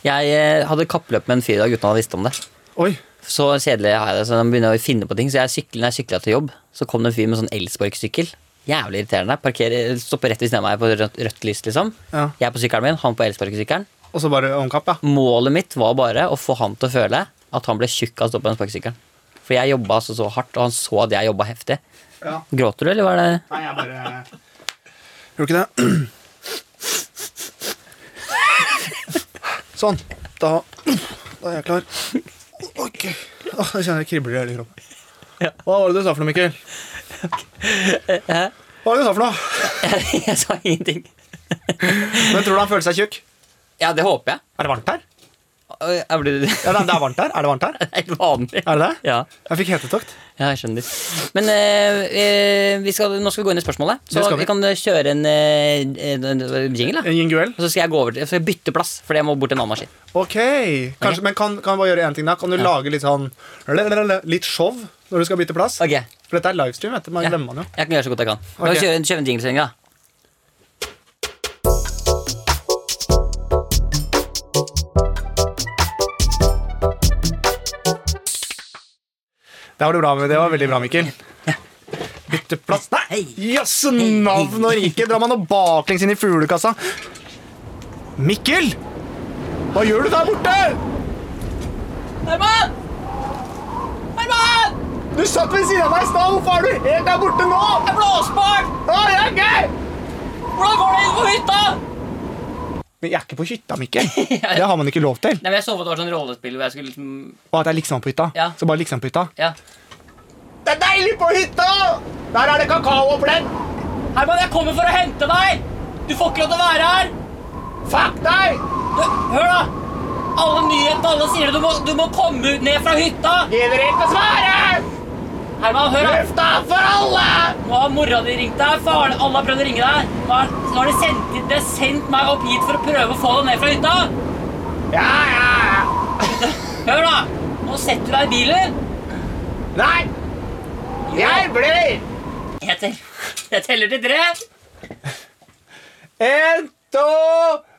Jeg eh, hadde kappløp med en fyr da guttene hadde visst om det.
Oi.
Så kjedelig har jeg det, så de begynner å finne på ting. Så jeg sykler, når jeg sykla til jobb, så kom det en fyr med sånn elsparkesykkel. Jævlig irriterende. Parkerer, stopper rett ved siden av meg på rødt, rødt lys, liksom.
Ja.
Jeg på sykkelen min, han på elsparkesykkelen.
Og så bare omkapp, ja.
Målet mitt var bare å få han til å føle at han ble tjukk av å stå på den sparkesykkelen. For jeg jobba altså så hardt, og han så at jeg jobba heftig.
Ja.
Gråter du, eller var det
Nei, jeg bare Gjorde ikke det? Sånn. Da, da er jeg klar. Ok. Åh, jeg kjenner det kribler i hele kroppen. Hva var det du sa for noe, Mikkel? Hva var det du sa for noe?
Jeg sa ingenting.
Men tror du han føler seg tjukk?
Ja, det håper jeg.
Er det varmt her?
Oi, Jeg blir det
Ja, det er- det er varmt her. Er det varmt her?
er helt vanlig.
Er det det?
Ja,
Jeg fikk hetetokt.
ja, jeg skjønner. Men eh, eh, vi skal, nå skal vi gå inn i spørsmålet. Så
Det skal
vi.
vi.
kan eh, kjøre en, eh, en, en jingle. Da.
En jinguel.
Og så skal jeg gå over til, så skal jeg bytte plass, for jeg må bort til en annen maskin.
Ok. Kanskje, men kan, kan jeg bare gjøre én ting da? Kan du lage litt sånn Litt show når du skal bytte plass?
Ok, Jeg
For dette er livestream, vet du. Man
Ja.
glemmer man jo.
kan gjøre så godt jeg kan. Da
Ok.
kjører jeg en, kjører en jingle-sending, da.
Det var, det bra, med- det var veldig bra, Mikkel. Bytteplass Nei! Jøsse navn og rike! Drar man noe baklengs inn i fuglekassa? Mikkel! Hva gjør du der borte?
Herman! Herman!
Du satt ved siden av meg i stad! Hvorfor er du helt der borte nå?
Jeg er blåsbarn!
Å, det er gøy!
Hvordan går det inn på hytta?
Men jeg er ikke på hytta, Mikkel. Det har man ikke lov til.
Nei, men Jeg så for meg at det var sånn rollespill hvor jeg skulle liksom
Og at jeg er liksom på hytta.
Ja.
Så bare liksom på hytta.
Ja.
Det er deilig på hytta! Der er det kakao og pledd.
Herman, jeg kommer for å hente deg! Du får ikke lov til å være her!
Fuck deg!
Du, hør, da! Alle nyhetene, alle sier det. Du må, du må komme ut ned fra hytta!
Gidder ikke å svare!
Herman, hør, da!
Lufta for alle!
Nå har mora di ringt deg, faren Alle har prøvd å ringe deg. Nå har, nå har de sendt, inn- de har sendt meg opp hit for å prøve å få deg ned fra hytta.
Ja, ja, ja.
Hør, da! Nå setter du deg i bilen.
Nei! Jeg blir!
Jeg, tell, jeg teller til tre.
En, to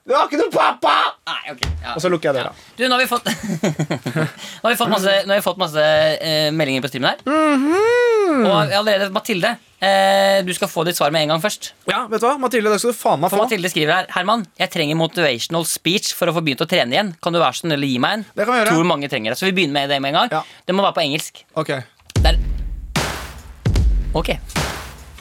Du har ikke noe pappa!
Nei, ok. Ja.
Og så lukker jeg døra.
Du, nå har vi fått, nå har vi fått masse, nå har vi fått masse eh, meldinger på streamen her.
Mm.
Og allerede Mathilde, eh, du skal få ditt svar med en gang først.
Ja, vet du hva? Mathilde, det skal du faen meg
For
få.
Mathilde skriver her Herman, jeg trenger motivational speech for å få begynt å trene igjen. Kan du være så snill å gi meg en?
Det kan vi gjøre.
Tror mange trenger det. Så vi begynner med det med en gang.
Ja.
Det må være på engelsk.
Ok.
Der. Ok.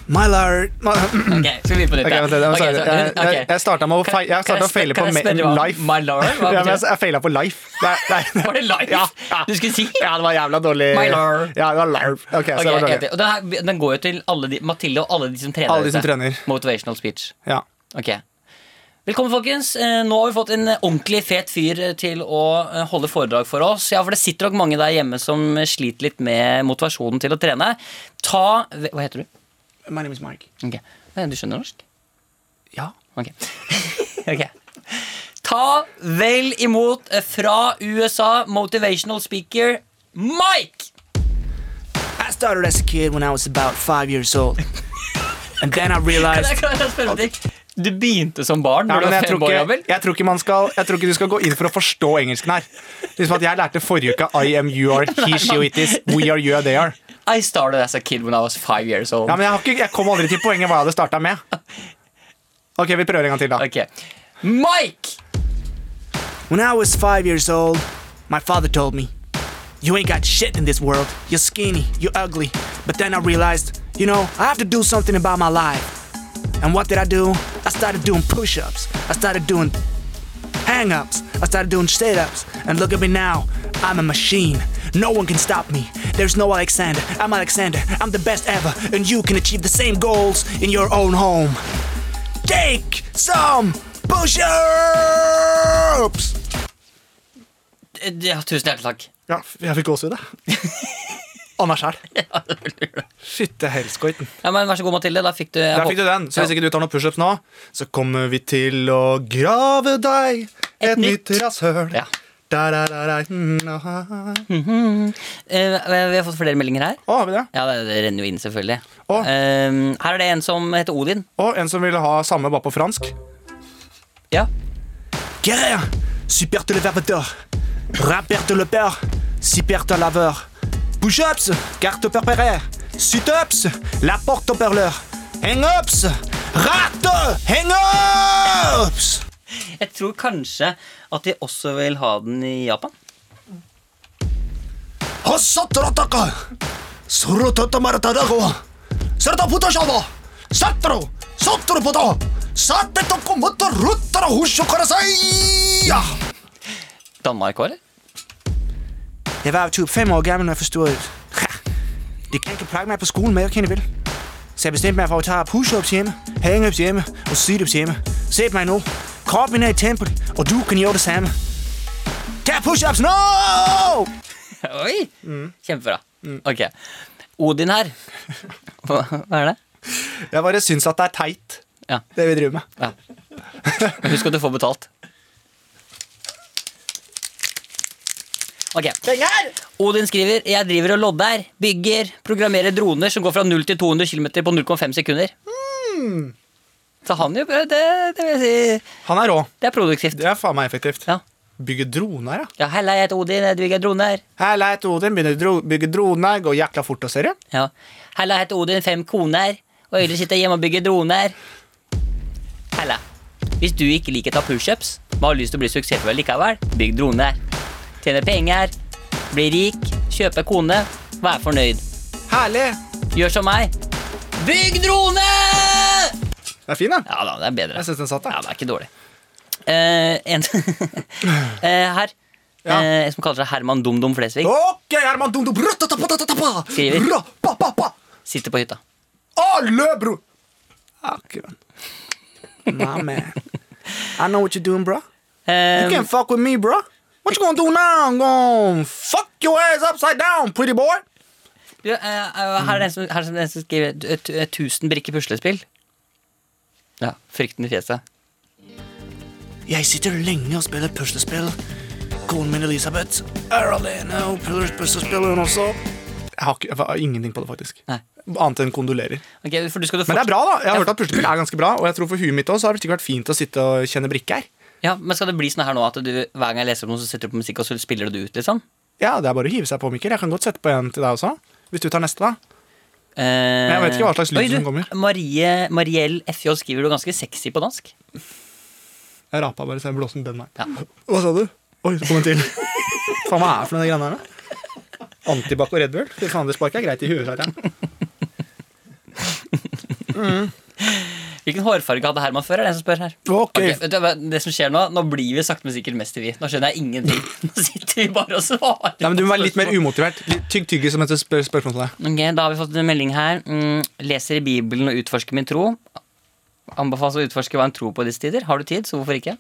My lord Mm. Ok,
ok, Skal vi begynne på nytt? ja?
vent litt.
Ok,
Jeg,
så-
jeg,
ok.
jeg, jeg starta med å,
Kan-
fei, jeg
kan
starta å
sp-
feile på
kan jeg
me-
spørre hva-
life.
My lord? Hva
Ja, men
betyr
jeg
det?
jeg feila på life. Det, er- det, er-
Var det life
Ja, ja.
du skulle si?
ja, det var jævla dårlig.
My lord.
Ja, det var larv. Ok, så
Ok,
det var
jeg er
dårlig.
enig. og den, her, den går jo til alle de, Mathilde og alle de som trener.
Alle de
dette.
som trener.
Motivational speech.
Ja.
Ok Velkommen, folkens. Eh, Nå har vi fått en eh, ordentlig fet fyr eh, til å eh, holde foredrag for oss. Ja, for det sitter nok mange der hjemme som eh, sliter litt med motivasjonen til å trene. Ta Hva heter du?
My name is Mike.
Ok, Eh, Du skjønner norsk?
Ja.
Ok. Ok. Ta vel imot eh, fra USA motivational speaker Mike!
I started as a kid when I was about five years old. And then I realized
Det er klart jeg spør om ting. Du begynte som barn?
Ja,
når du
men
var
jeg,
fem
tror
år
ikke,
gammel?
jeg, tror ikke man skal, jeg tror ikke du skal gå inn for å forstå engelsken her. Liksom at Jeg lærte forrige uke I am you are, he, she, it is, we are, you are, they are.
I started as a kid when I was five years old.
Ja, men jeg, har ikke, jeg kom aldri til poenget hva jeg hadde starta med. Ok, Vi prøver en gang til, da.
Ok. Mike!
when I was five years old, my father told me, You ain't got shit in this world. You're skinny, you're ugly. But then I realized, you know, I have to do something about my life. And what did I do? I started doing push ups, I started doing hang ups, I started doing sit ups. And look at me now, I'm a machine. No one can stop me. There's no Alexander. I'm Alexander. I'm the best ever. And you can achieve the same goals in your own home. Take some push-ups!
Eh, Ja, tusen hjertelig takk.
Ja, jeg fikk gåsehud, jeg. Anna sjæl. Fytte helskoiten.
Ja, men Vær så god, Mathilde. Da fikk du, jeg
Der fikk du
håper-
den. Så hvis ikke du tar noen pushups nå, så kommer vi til å grave deg et, nytt rasshøl.
Ja.
Da, da, da, da. Mm, aha.
Eh, vi har fått flere meldinger her.
Å, har vi det?
Ja, det, det renner jo inn, selvfølgelig.
Å.
Eh, her er det en som heter Odin.
Og en som ville ha samme bare på fransk.
Ja.
Guerrier, super téléverbateur, rappeur développeur, super laveur, push-ups, carte perpéraire, sit-ups, la porte au perleur, hang-ups, rate, hang-ups!
Jeg tror kanskje at de også vil ha den i Japan.
Hossottarotaka, sorototamaratarako, serotoputashava, sataro, sotoropoto, satettokomotoruttarahushokarasai!
Danmark òg, eller?
Jeg var jo typ fem år gammel, når jeg forstod, at ha, det kan ikke plakke mig på skolen med, jeg kan det vel. Så jeg bestemte mig for at tage push-ups hjemme, hang-ups hjemme og sit-ups hjemme. Se mig nu. Kroppen er i tempel, og du kan gjøre det samme. Tag push-ups nå! Oh!
Oi! Kjempebra. Ok. Odin her. Hva, hva er det?
Jeg bare syns at det er teit,
Ja.
det vi driver med.
ja. Men Husk at du får betalt. Ok. Odin skriver Jeg driver og lodder, bygger, programmerer droner som går fra 0 til 200 km på 0,5 sekunder. Så han jo det, det vil jeg si
Han er rå.
Det er produktivt.
Det er faen meg effektivt.
Ja.
Bygge droner, ja.
Ja, Hella, jeg heter Odin, jeg bygger droner.
Hella, jeg heter Odin. Begynner å dro- bygge droner. Går jækla fort og ser det.
Ja. Hella, jeg heter Odin, fem koner. Og Øyre sitter hjemme og bygger droner. Hella, hvis du ikke liker å ta pushups, men har lyst til å bli suksessfull likevel, bygg droner. Tjene penger, bli rik, kjøpe kone, vær fornøyd.
Herlig.
Gjør som meg. Bygg drone!
Det er fin, da.
Ja da, det er bedre.
Jeg syns den satt,
Ja,
da.
det er ikke dårlig. Eh, en eh, her.
Ja.
Eh, en som kaller seg Herman Dum-Dum Flesvig.
Ok, Herman Dondo. Brutatapatatatapa.
Skriver.
Ra, pa, pa, pa.
Sitter på hytta.
Alle, bro! Akkurat.
My man. I know what you're doing, bro. You
Eh,
can't fuck with me, bro. What you gonna do now? I'm gonna fuck your ass upside down, pretty boy.
Du, eh, eh, her er det en som, her er det en som skriver du, eh, tu- eh, 1000 brikker puslespill. Ja, Frykten i fjeset.
Jeg sitter lenge og spiller puslespill. Konen min Elisabeth er alene og spiller puslespill, hun også.
Jeg har, ikke, jeg har ingenting på det, faktisk.
Nei.
Annet enn kondolerer.
Ok, for du skal du
Men det er
forts-
bra, da. Jeg har hørt at puslespill er ganske bra, og jeg tror for huet mitt også har det sikkert vært fint å sitte og kjenne brikker.
Ja, men Skal det bli sånn her nå at du hver gang jeg leser om noe, så setter du på musikk og så spiller du det ut? liksom?
Ja, det er bare å hive seg på, Mikkel. Jeg kan godt sette på en til deg også. Hvis du tar neste, da.
Eh,
jeg vet ikke hva slags lyd
oi, du,
som kommer.
Marie, Mariell FJ skriver du ganske sexy på dansk.
Jeg rapa bare så jeg blåste den her.
Ja.
Hva sa du? Oi, så kom en til. faen, hva er det for noe de greiene her, da? Antibac og Red Bull? Fy faen, det sparker greit i huet. sa jeg.
Hvilken hårfarge hadde Herman før? er det en som spør her
Ok.
Ok, vet du hva, Det som skjer Nå nå blir vi sakte, men sikkert mest til vi. Nå skjønner jeg ingenting. Nå sitter vi bare og svarer.
Nei, men Du må være litt
på
mer
spørsmål.
umotivert. Litt tygg tygge som heter spør spørsmål til deg.
Ok, Da har vi fått en melding her. Mm, leser i Bibelen og utforsker min tro. Anbefales å utforske hva en tror på i disse tider. Har du tid, så hvorfor ikke?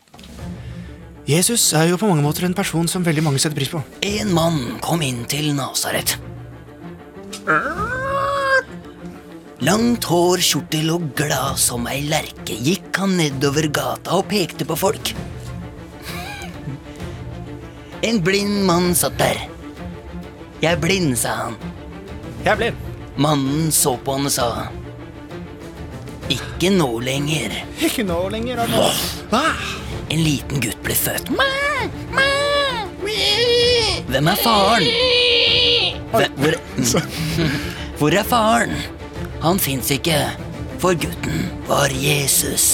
Jesus er jo på mange måter en person som veldig mange setter pris på.
En mann kom inn til Nasaret. Langt hår, kjortel og glad som ei lerke gikk han nedover gata og pekte på folk. En blind mann satt der. Jeg er blind, sa han.
Jeg blir.
Mannen så på han og sa Ikke nå lenger.
Ikke nå lenger. altså. Ah.
En liten gutt ble født. Hvem er faren? Hvem, hvor, hvor er faren? Han fins ikke, for gutten var Jesus.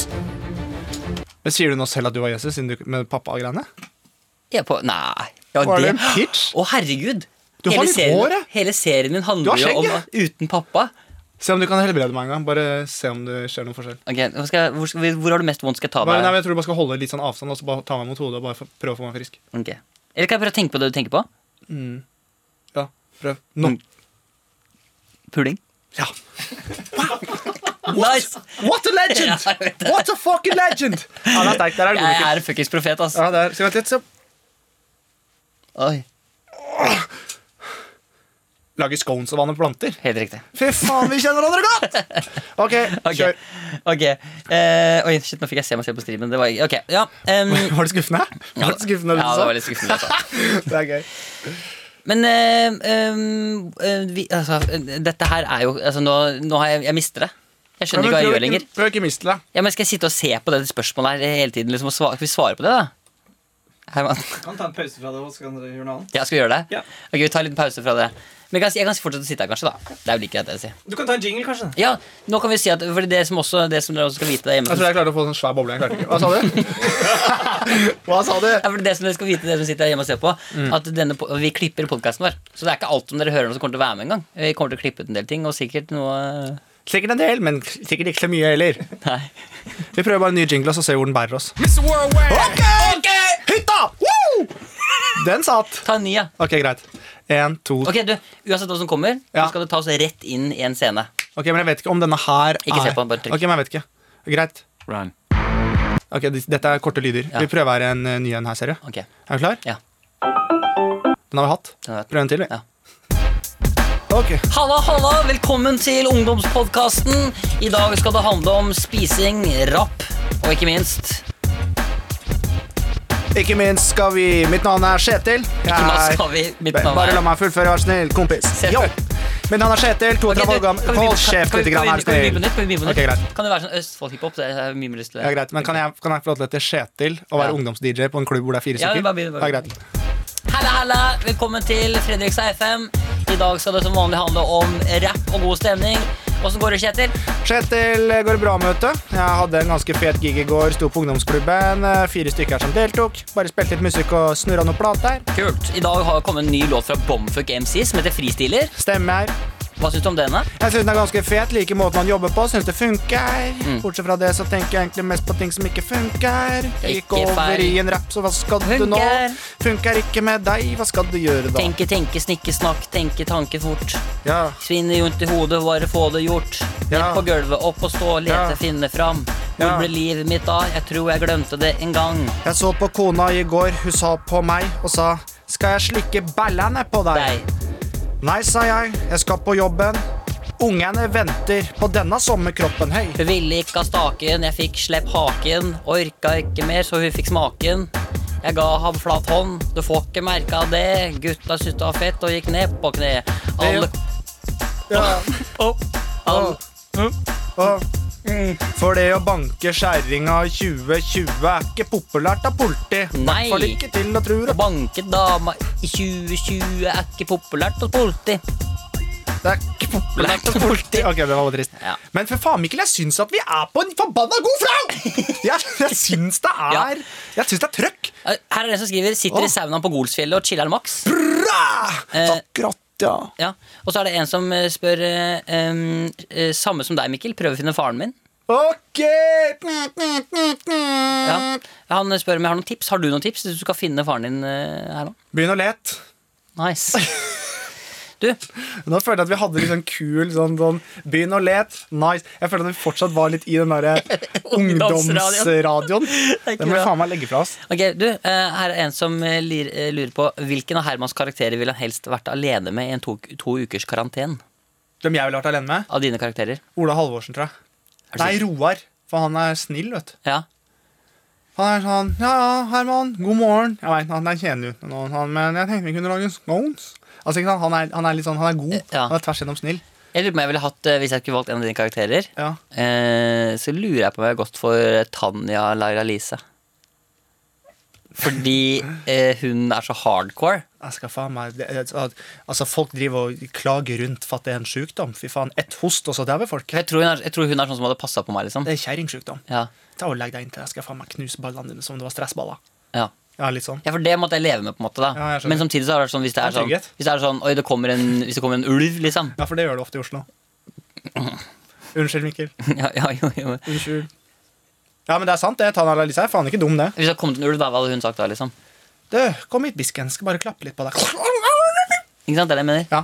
Men Sier du nå selv at du var Jesus siden du, med pappa-greiene?
Jeg på, nei ja,
Var det en pitch?
Å, herregud!
Du har
hele,
litt
serien,
hår, ja.
hele serien min
Du har
handler jo om
skjegg,
uten pappa.
Se om du kan helbrede meg en gang. Bare se om det skjer noen forskjell.
Ok, hva skal, jeg- hvor, skal vi, hvor har du mest vondt? Skal jeg ta
Bare, nei,
deg?
men jeg tror du bare skal holde litt sånn avstand og så bare ta meg mot hodet og bare få- prøve å få meg frisk.
Ok. Eller kan jeg prøve å tenke på det du tenker på? Mm.
Ja, prøv. Nå.
Puling.
Ja.
Nice!
What a legend! What a fucking legend! Ja, det er sterkt. Der er
Jeg
det komiker.
er fuckings profet, ass.
Ja, der. Skal vi vente litt, så
Oi,
Lager scones og vanner planter.
Helt riktig.
Fy faen, vi kjenner hverandre godt! Ok,
Ok.
kjør.
ok Eh, Oi, shit, nå fikk jeg se meg selv på streamen. Det var Ok, ja. em,
Var det skuffende?
Mm. ja,
Var det skuffende
ja, det var
du
litt skuffende. Altså.
sa? Det er gøy.
Men eh, em, eh, vi, altså, eh, dette her er jo altså, nå, nå har jeg Jeg mister det. Jeg skjønner ikke hva jeg gjør lenger.
Prøv ikke å miste det.
Ja, men Skal jeg sitte og se på dette spørsmålet her hele tiden? Liksom, og svare, skal vi svare på det, da? Herman?
Kan ta en pause fra det, og så kan dere gjøre noe annet.
Ja, skal vi gjøre det?
Ja.
Ok, Vi tar en liten pause fra det. Men jeg kan, jeg kan fortsette å sitte her, kanskje. da Det er jo like greit, det jeg sier.
Du kan ta en jingle, kanskje.
Ja, nå kan vi si at Fordi det som også Det som dere også skal vite der hjemme
Jeg tror jeg klarte å få en sånn svær boble. Jeg klarte ikke. Hva sa du? Hva sa du?
ja, for det som dere skal vite, dere som sitter her hjemme og ser på,
Mm.
at denne, po- vi klipper podkasten vår. Så det er ikke alt som dere hører nå som kommer til å være med engang. Vi kommer til å klippe ut en del ting, og sikkert noe
Sikkert en del, men sikkert ikke så mye heller.
Nei.
Vi prøver bare en ny jingle og så ser vi hvor den bærer oss. Ok! Hytta! Woo! Den satt.
Ta en ny, ja.
Ok, greit. En, to
Ok, du, Uansett hva som kommer,
Ja.
så skal det tas rett inn i en scene.
Ok, men jeg vet ikke om denne her
Ikke se
er-
på den, bare trykk.
Ok, men jeg vet ikke. Greit. Ok, dis- Dette er korte lyder.
Ja.
Vi prøver en eh, ny en her, ser du.
Ok,
Er du klar?
Ja.
Den har vi hatt.
den er-
Prøv en til, vi.
Ja.
Ok.
Halla, halla, velkommen til ungdomspodkasten. I dag skal det handle om spising, rapp og ikke minst
Ikke minst skal vi Mitt navn er Kjetil. Jeg
Ikke altså. minst
er-
skal vi mitt navn
Bare
er-
la meg fullføre, vær snill, kompis.
Se-
Yo. Mitt navn er Kjetil.
Ok, du,
32 år
kan vi
gammel.
begynne-
Hold
kan
kjeft
vi-
litt, grann,
kan
vær
vi- kan vi begynne på
snill.
nytt? Kan vi begynne på
Ok,
nytt?
greit.
Kan det være sånn Østfold-hiphop? Det har jeg mye mer lyst til.
Ja, greit. Men kan jeg, kan jeg få lov til å hete Kjetil og være
Ja.
ungdoms-DJ på en klubb hvor det er fire
Ja,
stykker?
bare begynn, bare
Ja,
begynn.
greit.
Halla, halla! Velkommen til Fredrikstad FM. I dag skal det som vanlig handle om rapp og god stemning. Åssen går det, Kjetil?
Kjetil eh, går det bra med ute. Jeg hadde en ganske fet gig i går. Sto på ungdomsklubben. eh, Fire stykker som deltok. Bare spilte litt musikk og snurra noen plater.
Kult. I dag har det kommet en ny låt fra Bomfuck MC som heter Fristiler.
Stemmer.
Hva syns du om denne?
Jeg syns den er ganske fet. Liker måten han jobber på. Syns det funker.
Mm.
Bortsett fra det så tenker jeg egentlig mest på ting som ikke funker. Jeg gikk
Ikke feil.
over i en rap, så hva skal du nå?
Funker.
Funker ikke med deg, hva skal du gjøre da?
Tenke, tenke, snikke, snakk, tenke tanke fort.
Ja,
Svinne rundt i hodet, bare få det gjort. Ned
Ja.
på gulvet, opp og stå, lete,
Ja.
finne fram. Hvor
Ja.
ble livet mitt av? Jeg tror jeg glemte det en gang.
jeg så på kona i går, hun sa på meg og sa Skal jeg slikke ballene på deg?
Nei.
Nei, sa jeg, jeg skal på jobben. Ungene venter på denne sommerkroppen, hei.
Hun ville ikke ha staken, jeg fikk slepp haken. Orka ikke mer, så hun fikk smaken. Jeg ga ham flat hånd, du får ikke merke av det. Gutta syntes det var fett og gikk ned på kne. Alle
Ja.
Opp, alle
Åh.
Mm.
For det å banke skjæringa i 2020 er ikke populært av politi.
Nei.
Hvertfall ikke til å tro
Å banke dama i 2020 er ikke populært hos politi.
Det er ikke populært å politi. Ok, det var bare trist.
Ja.
Men for faen, Mikkel, jeg syns at vi er på en forbanna god flau! Jeg, jeg syns det
Ja.
er Jeg syns det er trøkk.
Eh, Her er det en som skriver 'Sitter i
Åh.
saunaen på Golsfjellet og chiller'n maks'. Eh.
Akkurat, ja.
Ja. Og så er det en som eh, spør eh, em, eh, Samme som deg, Mikkel. Prøver å finne faren min.
Ok!
Ja. Han eh, spør om jeg har noen tips. Har du noen tips hvis du skal finne faren din eh, her nå?
Begynn å lete.
Nice. Du,
Nå følte jeg at vi hadde litt sånn kul sånn, sånn Begynn å lete. Nice. Jeg følte at vi fortsatt var litt i den derre ungdomsradioen.
er ikke
Den må vi
bra.
faen meg legge fra oss.
ok, du eh, her er en som eh, lir- eh, lurer på hvilken av Hermans karakterer ville han helst vært alene med i en to, to ukers karantene?
Hvem jeg ville vært alene med?
Av dine karakterer?
Ola Halvorsen, tror jeg. Nei, Roar. For han er snill, vet du.
Ja.
Han er sånn Ja, ja, Herman, god morgen. Jeg vet, han er kjedelig uten noen, han, men jeg tenkte vi kunne lage scones. Altså, ikke sant? Han, er, han er litt sånn, han er god.
Ja.
Han er tvers gjennom snill.
Jeg lurer på om jeg ville hatt, eh, Hvis jeg skulle valgt en av dine karakterer,
Ja.
eh, så lurer jeg på om jeg har gått for eh, Tanja Laila Lise. Fordi eh, hun er så hardcore.
Jeg skal faen meg det- det- Altså, folk driver og klager rundt for at det er en sjukdom. Fy faen. Ett host, og så dauer folk.
Jeg tror, hun er, jeg tror hun er sånn som hadde passa på meg. liksom
Det er kjerringsjukdom.
ja.
Ta og Legg deg inntil jeg skal faen meg knuse ballene dine som om det var stressballer.
Ja.
Ja, litt sånn.
ja, for det måtte jeg leve med. på en måte da
Ja, jeg skjønner.
Men samtidig så er det sånn hvis det er
Det er
sånn,
trygghet.
hvis det er sånn Oi, det kommer en, hvis det kommer en ulv, liksom.
Ja, for det gjør det ofte i Oslo. Unnskyld, Mikkel.
ja, ja, jo, jo.
Unnskyld. Ja, men det er sant, det. Tanja Lalise er faen ikke dum, det.
Hvis det kom til en ulv, da, hva hadde hun sagt da? liksom
Du, kom hit, bisken. Skal bare klappe litt på deg.
Ikke sant, det er det jeg mener
Ja.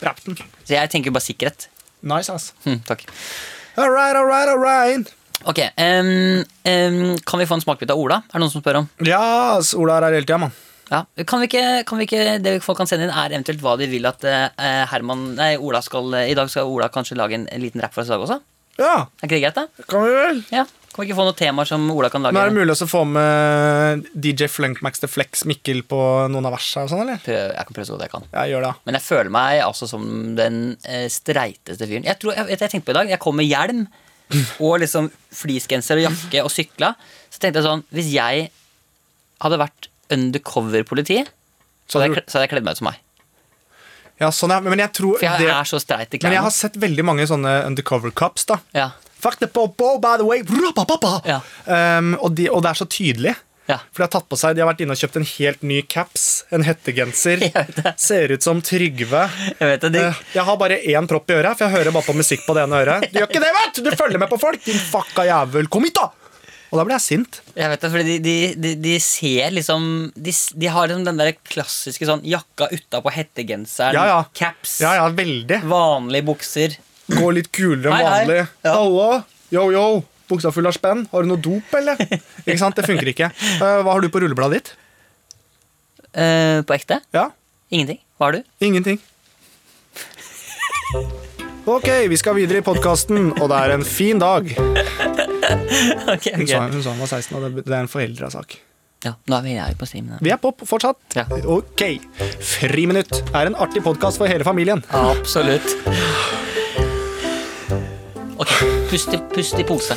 Drep den.
Så jeg tenker bare sikkerhet.
Nice, ass.
Hm, takk.
Eh, All right, all right, all right.
Ok, em, em, Kan vi få en smakebit av Ola? Er det noen som spør om?
Ja, ass, Ola er her hele tida, mann.
Ja. Kan vi ikke, kan vi ikke, Det folk kan sende inn, er eventuelt hva de vil at eh, Herman Nei, Ola skal eh, I dag skal Ola kanskje lage en, en liten rapp for oss i dag også?
Ja,
Er ikke det greit, da?
kan vi vel?
Ja. Kan vi ikke få noen temaer som Ola kan lage?
Men Er det mulig å få med DJ Flunkmax til Flex Mikkel på noen av versa? og sånn, eller?
Prøv, jeg kan prøve så godt jeg kan.
Ja, gjør det. da.
Men jeg føler meg altså som den eh, streiteste fyren. Jeg tror, jeg, vet du, jeg tenkte på i dag, jeg kom med hjelm og liksom fleecegenser og jakke og sykla. Så tenkte jeg sånn, hvis jeg hadde vært undercover-politi, så,
Så
hadde jeg
tror-
kle- så hadde jeg kledd meg ut som meg.
Ja, sånn er, men jeg tror
For jeg
det,
er så streit i
Men jeg
klærne.
har sett veldig mange sånne undercover cops, da.
Ja,
Fuck the popo, by the way! Rapapapa!
Ja.
Um, og, de, og det er så tydelig.
ja.
For de har tatt på seg, de har vært inne og kjøpt en helt ny caps, en hettegenser. Ser ut som Trygve.
Jeg vet det, de-
Eh, Jeg har bare én propp i øret, for jeg hører bare på musikk på det ene øret. Du gjør ikke det, vet du! Du følger med på folk, din fucka jævel! Kom hit, da! Og da blir jeg sint.
Jeg vet det, fordi de, de, de, de ser liksom de, s- de har liksom den der klassiske sånn jakka utapå hettegenseren,
Ja, ja.
caps,
Ja, ja, veldig.
vanlige bukser.
Gå litt kulere enn
Hei, hei.
vanlig. Hallo! Yo, yo! Buksa full av spenn. Har du noe dop, eller? Ikke sant? Det funker ikke. Eh, Hva har du på rullebladet ditt?
Eh, på ekte?
Ja?
Ingenting. Hva har du?
Ingenting. Ok, vi skal videre i podkasten, og det er en fin dag.
Ok,
Hun
ok.
sa hun sa hun var 16, og det- det er en foreldra sak.
Ja, nå er vi jeg er på streamen. da.
Vi er på p- fortsatt.
Ja.
Ok. Friminutt er en artig podkast for hele familien.
Absolutt. Ok, pust i, pust i pose.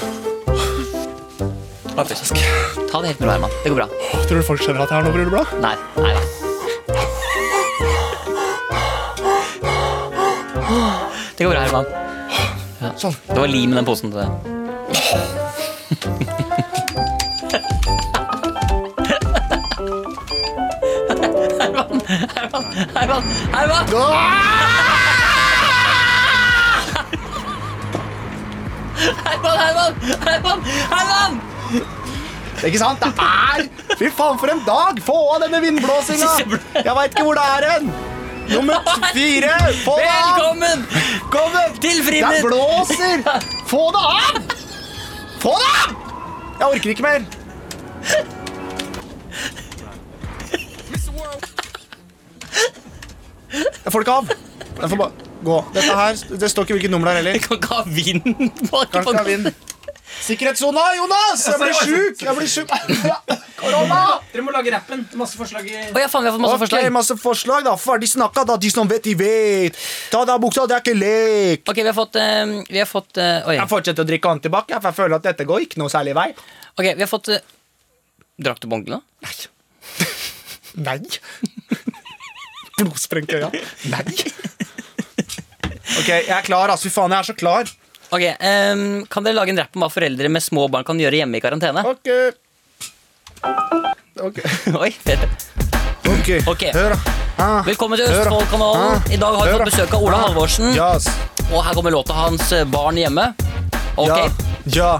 Ta pust. Ta det helt med ro, Herman. Det går bra.
Tror du folk skjønner at jeg har noe rulleblad?
Nei, nei, nei. Det går bra, Herman.
Sånn.
Det var lim i den posen til deg. Herman, Herman, Herman! Herman, Herman, Herman! Herman!
Ikke sant? Det er Fy faen, for en dag! Få av denne vindblåsinga! Jeg veit ikke hvor det er hen! Nummer fire! Få det av!
Velkommen
Velkommen!
til
Det
Friminutt!
blåser! Få det av! Få det av! Jeg orker ikke mer. Jeg får det ikke av. Jeg får bare gå. Dette her, Det står ikke hvilket nummer det
Jeg
er heller.
kan ikke ha vinden bak
Kanskje det er vind. Sikkerhetssona, Jonas!
Altså,
Jeg blir sjuk! Jeg blir sjuk. Korona!
Dere må lage rappen. Masse forslag i
Å ja, faen, vi har fått masse
Ok,
forslag.
masse forslag, da. Ferdig snakka, da. De som vet, de vet. Ta av deg buksa, det er ikke lek.
Ok, vi har fått, eh, vi har fått eh, Oi.
Jeg fortsetter å drikke antibac, jeg, for jeg føler at dette går ikke noe særlig vei.
Ok, vi har fått eh, Drakk du bonk nå?
Nei. Blodsprengte øya. Nei. Ok, jeg er klar, ass. Fy faen, jeg er så klar.
Ok, ehm, Kan dere lage en rapp om hva foreldre med små barn kan gjøre hjemme i karantene?
Ok. Ok.
Oi, fett. Ok.
Hør, da. Ah.
Velkommen til
Hør da.
Østfoldkanalen.
Ah.
I dag har vi
Hør da.
fått besøk av Ola
Ah.
Halvorsen.
Ja, ass.
Og her kommer låta hans eh, 'Barn hjemme'. Ok,
Ja. ja.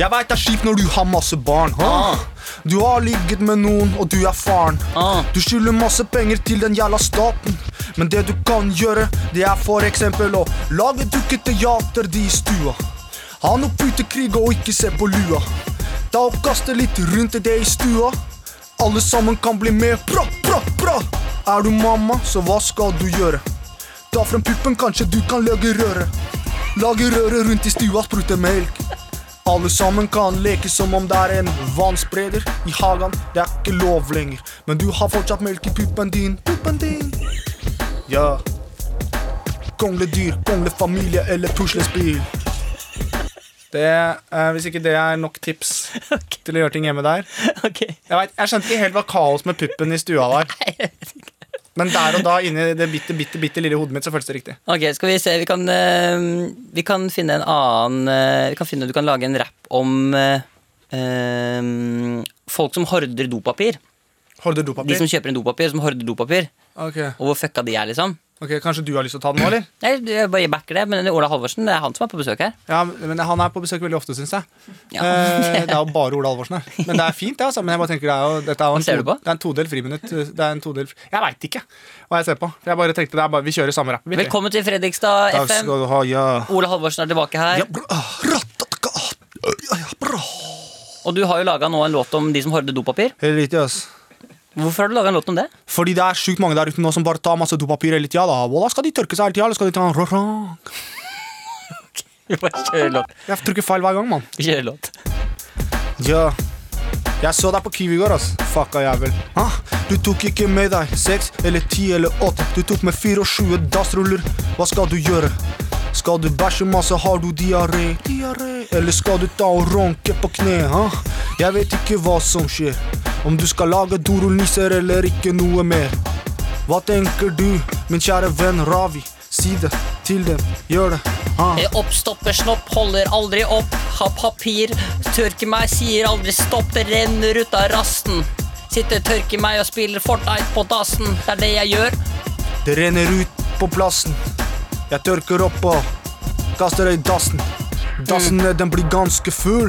Jeg veit det er kjipt når du har masse barn. hæ? Du har ligget med noen, og du er faren.
Ah.
Du skylder masse penger til den jævla staten. Men det du kan gjøre, det er for eksempel å lage dukkete jater de i stua. Ha noe putekrig og ikke se på lua. Ta og kaste litt rundt i det i stua. Alle sammen kan bli med. Bra, bra, bra! Er du mamma, så hva skal du gjøre? Ta frem puppen, kanskje du kan lage røre. Lage røre rundt i stua, sprute melk. Alle sammen kan leke som om det er en vannspreder i hagen. Det er ikke lov lenger, men du har fortsatt melk i puppen din. Puppen din. Ja. Kongledyr, konglefamilie eller puslespill. Det, eh, hvis ikke det er nok tips til å gjøre ting hjemme der
ok.
Jeg, vet, jeg skjønte ikke helt hva kaos med puppen i stua var. Men der og da, inni det bitte, bitte, bitte lille hodet mitt, så føltes det riktig.
Ok, skal vi se. Vi kan, ehm, vi kan finne en annen eh, Vi kan finne Du kan lage en rapp om eh, ehm, folk som horder dopapir.
Holder
De
dopapir?
som kjøper en dopapir, som horder dopapir.
Ok.
Og hvor fucka de er, liksom.
Ok, Kanskje du har lyst til å ta den nå, eller?
Nei, jeg bare backer det, men Ola Halvorsen, det er han som er på besøk her.
Ja, men Han er på besøk veldig ofte, syns jeg.
Ja.
Eh, det er jo bare Ola Halvorsen her. Men det er fint, det. Altså. Men jeg bare tenker det er jo, dette er jo
Hva ser
en,
du
to,
på?
det er en todel friminutt. Det er en todel, jeg veit ikke hva jeg ser på. Jeg bare tenkte det er bare, Vi kjører samme rappen. vi.
Velkommen til Fredrikstad
Takk
FM.
skal du ha, ja.
Ola Halvorsen er tilbake her.
Ja, bra. Ah, Ratataka. Ja, ja, bra.
Og du har jo laga nå en låt om de som hoarder dopapir.
Helt riktig, ass.
Hvorfor har du laga en låt om det?
Fordi det er sjukt mange der ute nå som bare tar masse dopapir hele tida. Da Voilà, skal de tørke seg hele tida, eller skal de ta en rorang?
Vi bare kjører låt.
Jeg trykker feil hver gang, mann.
Vi kjører låt.
Ja. Jeg så deg på Kiwi i går, ass. Fucka jævel. Hæ? Du tok ikke med deg seks eller ti eller åtte. Du tok med 24 dassruller. Hva skal du gjøre? Skal du bæsje masse, har du diaré? Diaré. Eller skal du ta og ronke på kne? Hæ? Jeg vet ikke hva som skjer. Om du skal lage dorullnisser eller ikke noe mer. Hva tenker du, min kjære venn Ravi? Si det til dem. Gjør det. Hæ?
Jeg oppstopper snopp, Eh, holder aldri opp. Har papir, tørker meg, sier aldri stopp. Det renner ut av rasten. Sitter, tørker meg og spiller Fortnite på dassen. Det er det jeg gjør.
Det renner ut på plassen. Jeg tørker opp og kaster det i dassen. Dassen eh, den blir ganske full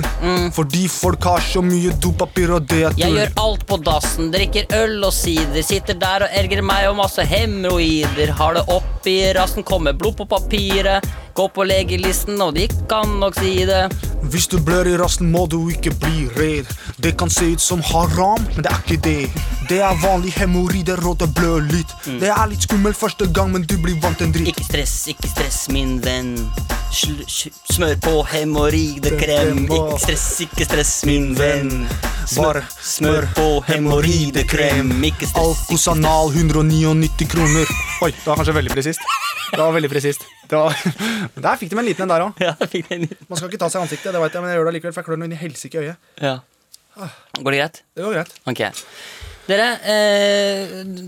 fordi folk har så mye dopapir, og det er
Jeg
tull.
gjør alt på dassen. Drikker øl og sider. Sitter der og ergrer meg og masse hemoroider. Har det opp i rassen, kommer blod på papiret. Går på legelisten, og de kan nok si det.
Hvis du blør i rassen, må du ikke bli redd. Det kan se ut som haram, men det er ikke det. Det er vanlig hemoroider, og det blør litt. Det er litt skummelt første gang, men du blir vant til en dritt.
Ikke stress, ikke stress, min venn. Sl sl- smør på hemoroidekrem. Ikke stress, ikke stress, min venn.
Bare smør
på hemoroidekrem. Ikke stress, ikke
Alkos anal 199 kroner. Oi, det var kanskje veldig presist. Det var veldig presist. Det var- Der fikk de en liten en der òg.
Ja, jeg fikk den inn.
Man skal ikke ta seg i ansiktet, det vet jeg, men jeg gjør det likevel, for jeg klør noe inn i helsike i øyet.
Ja.
Ah.
Går det greit?
Det går greit.
Ok. Dere, eh,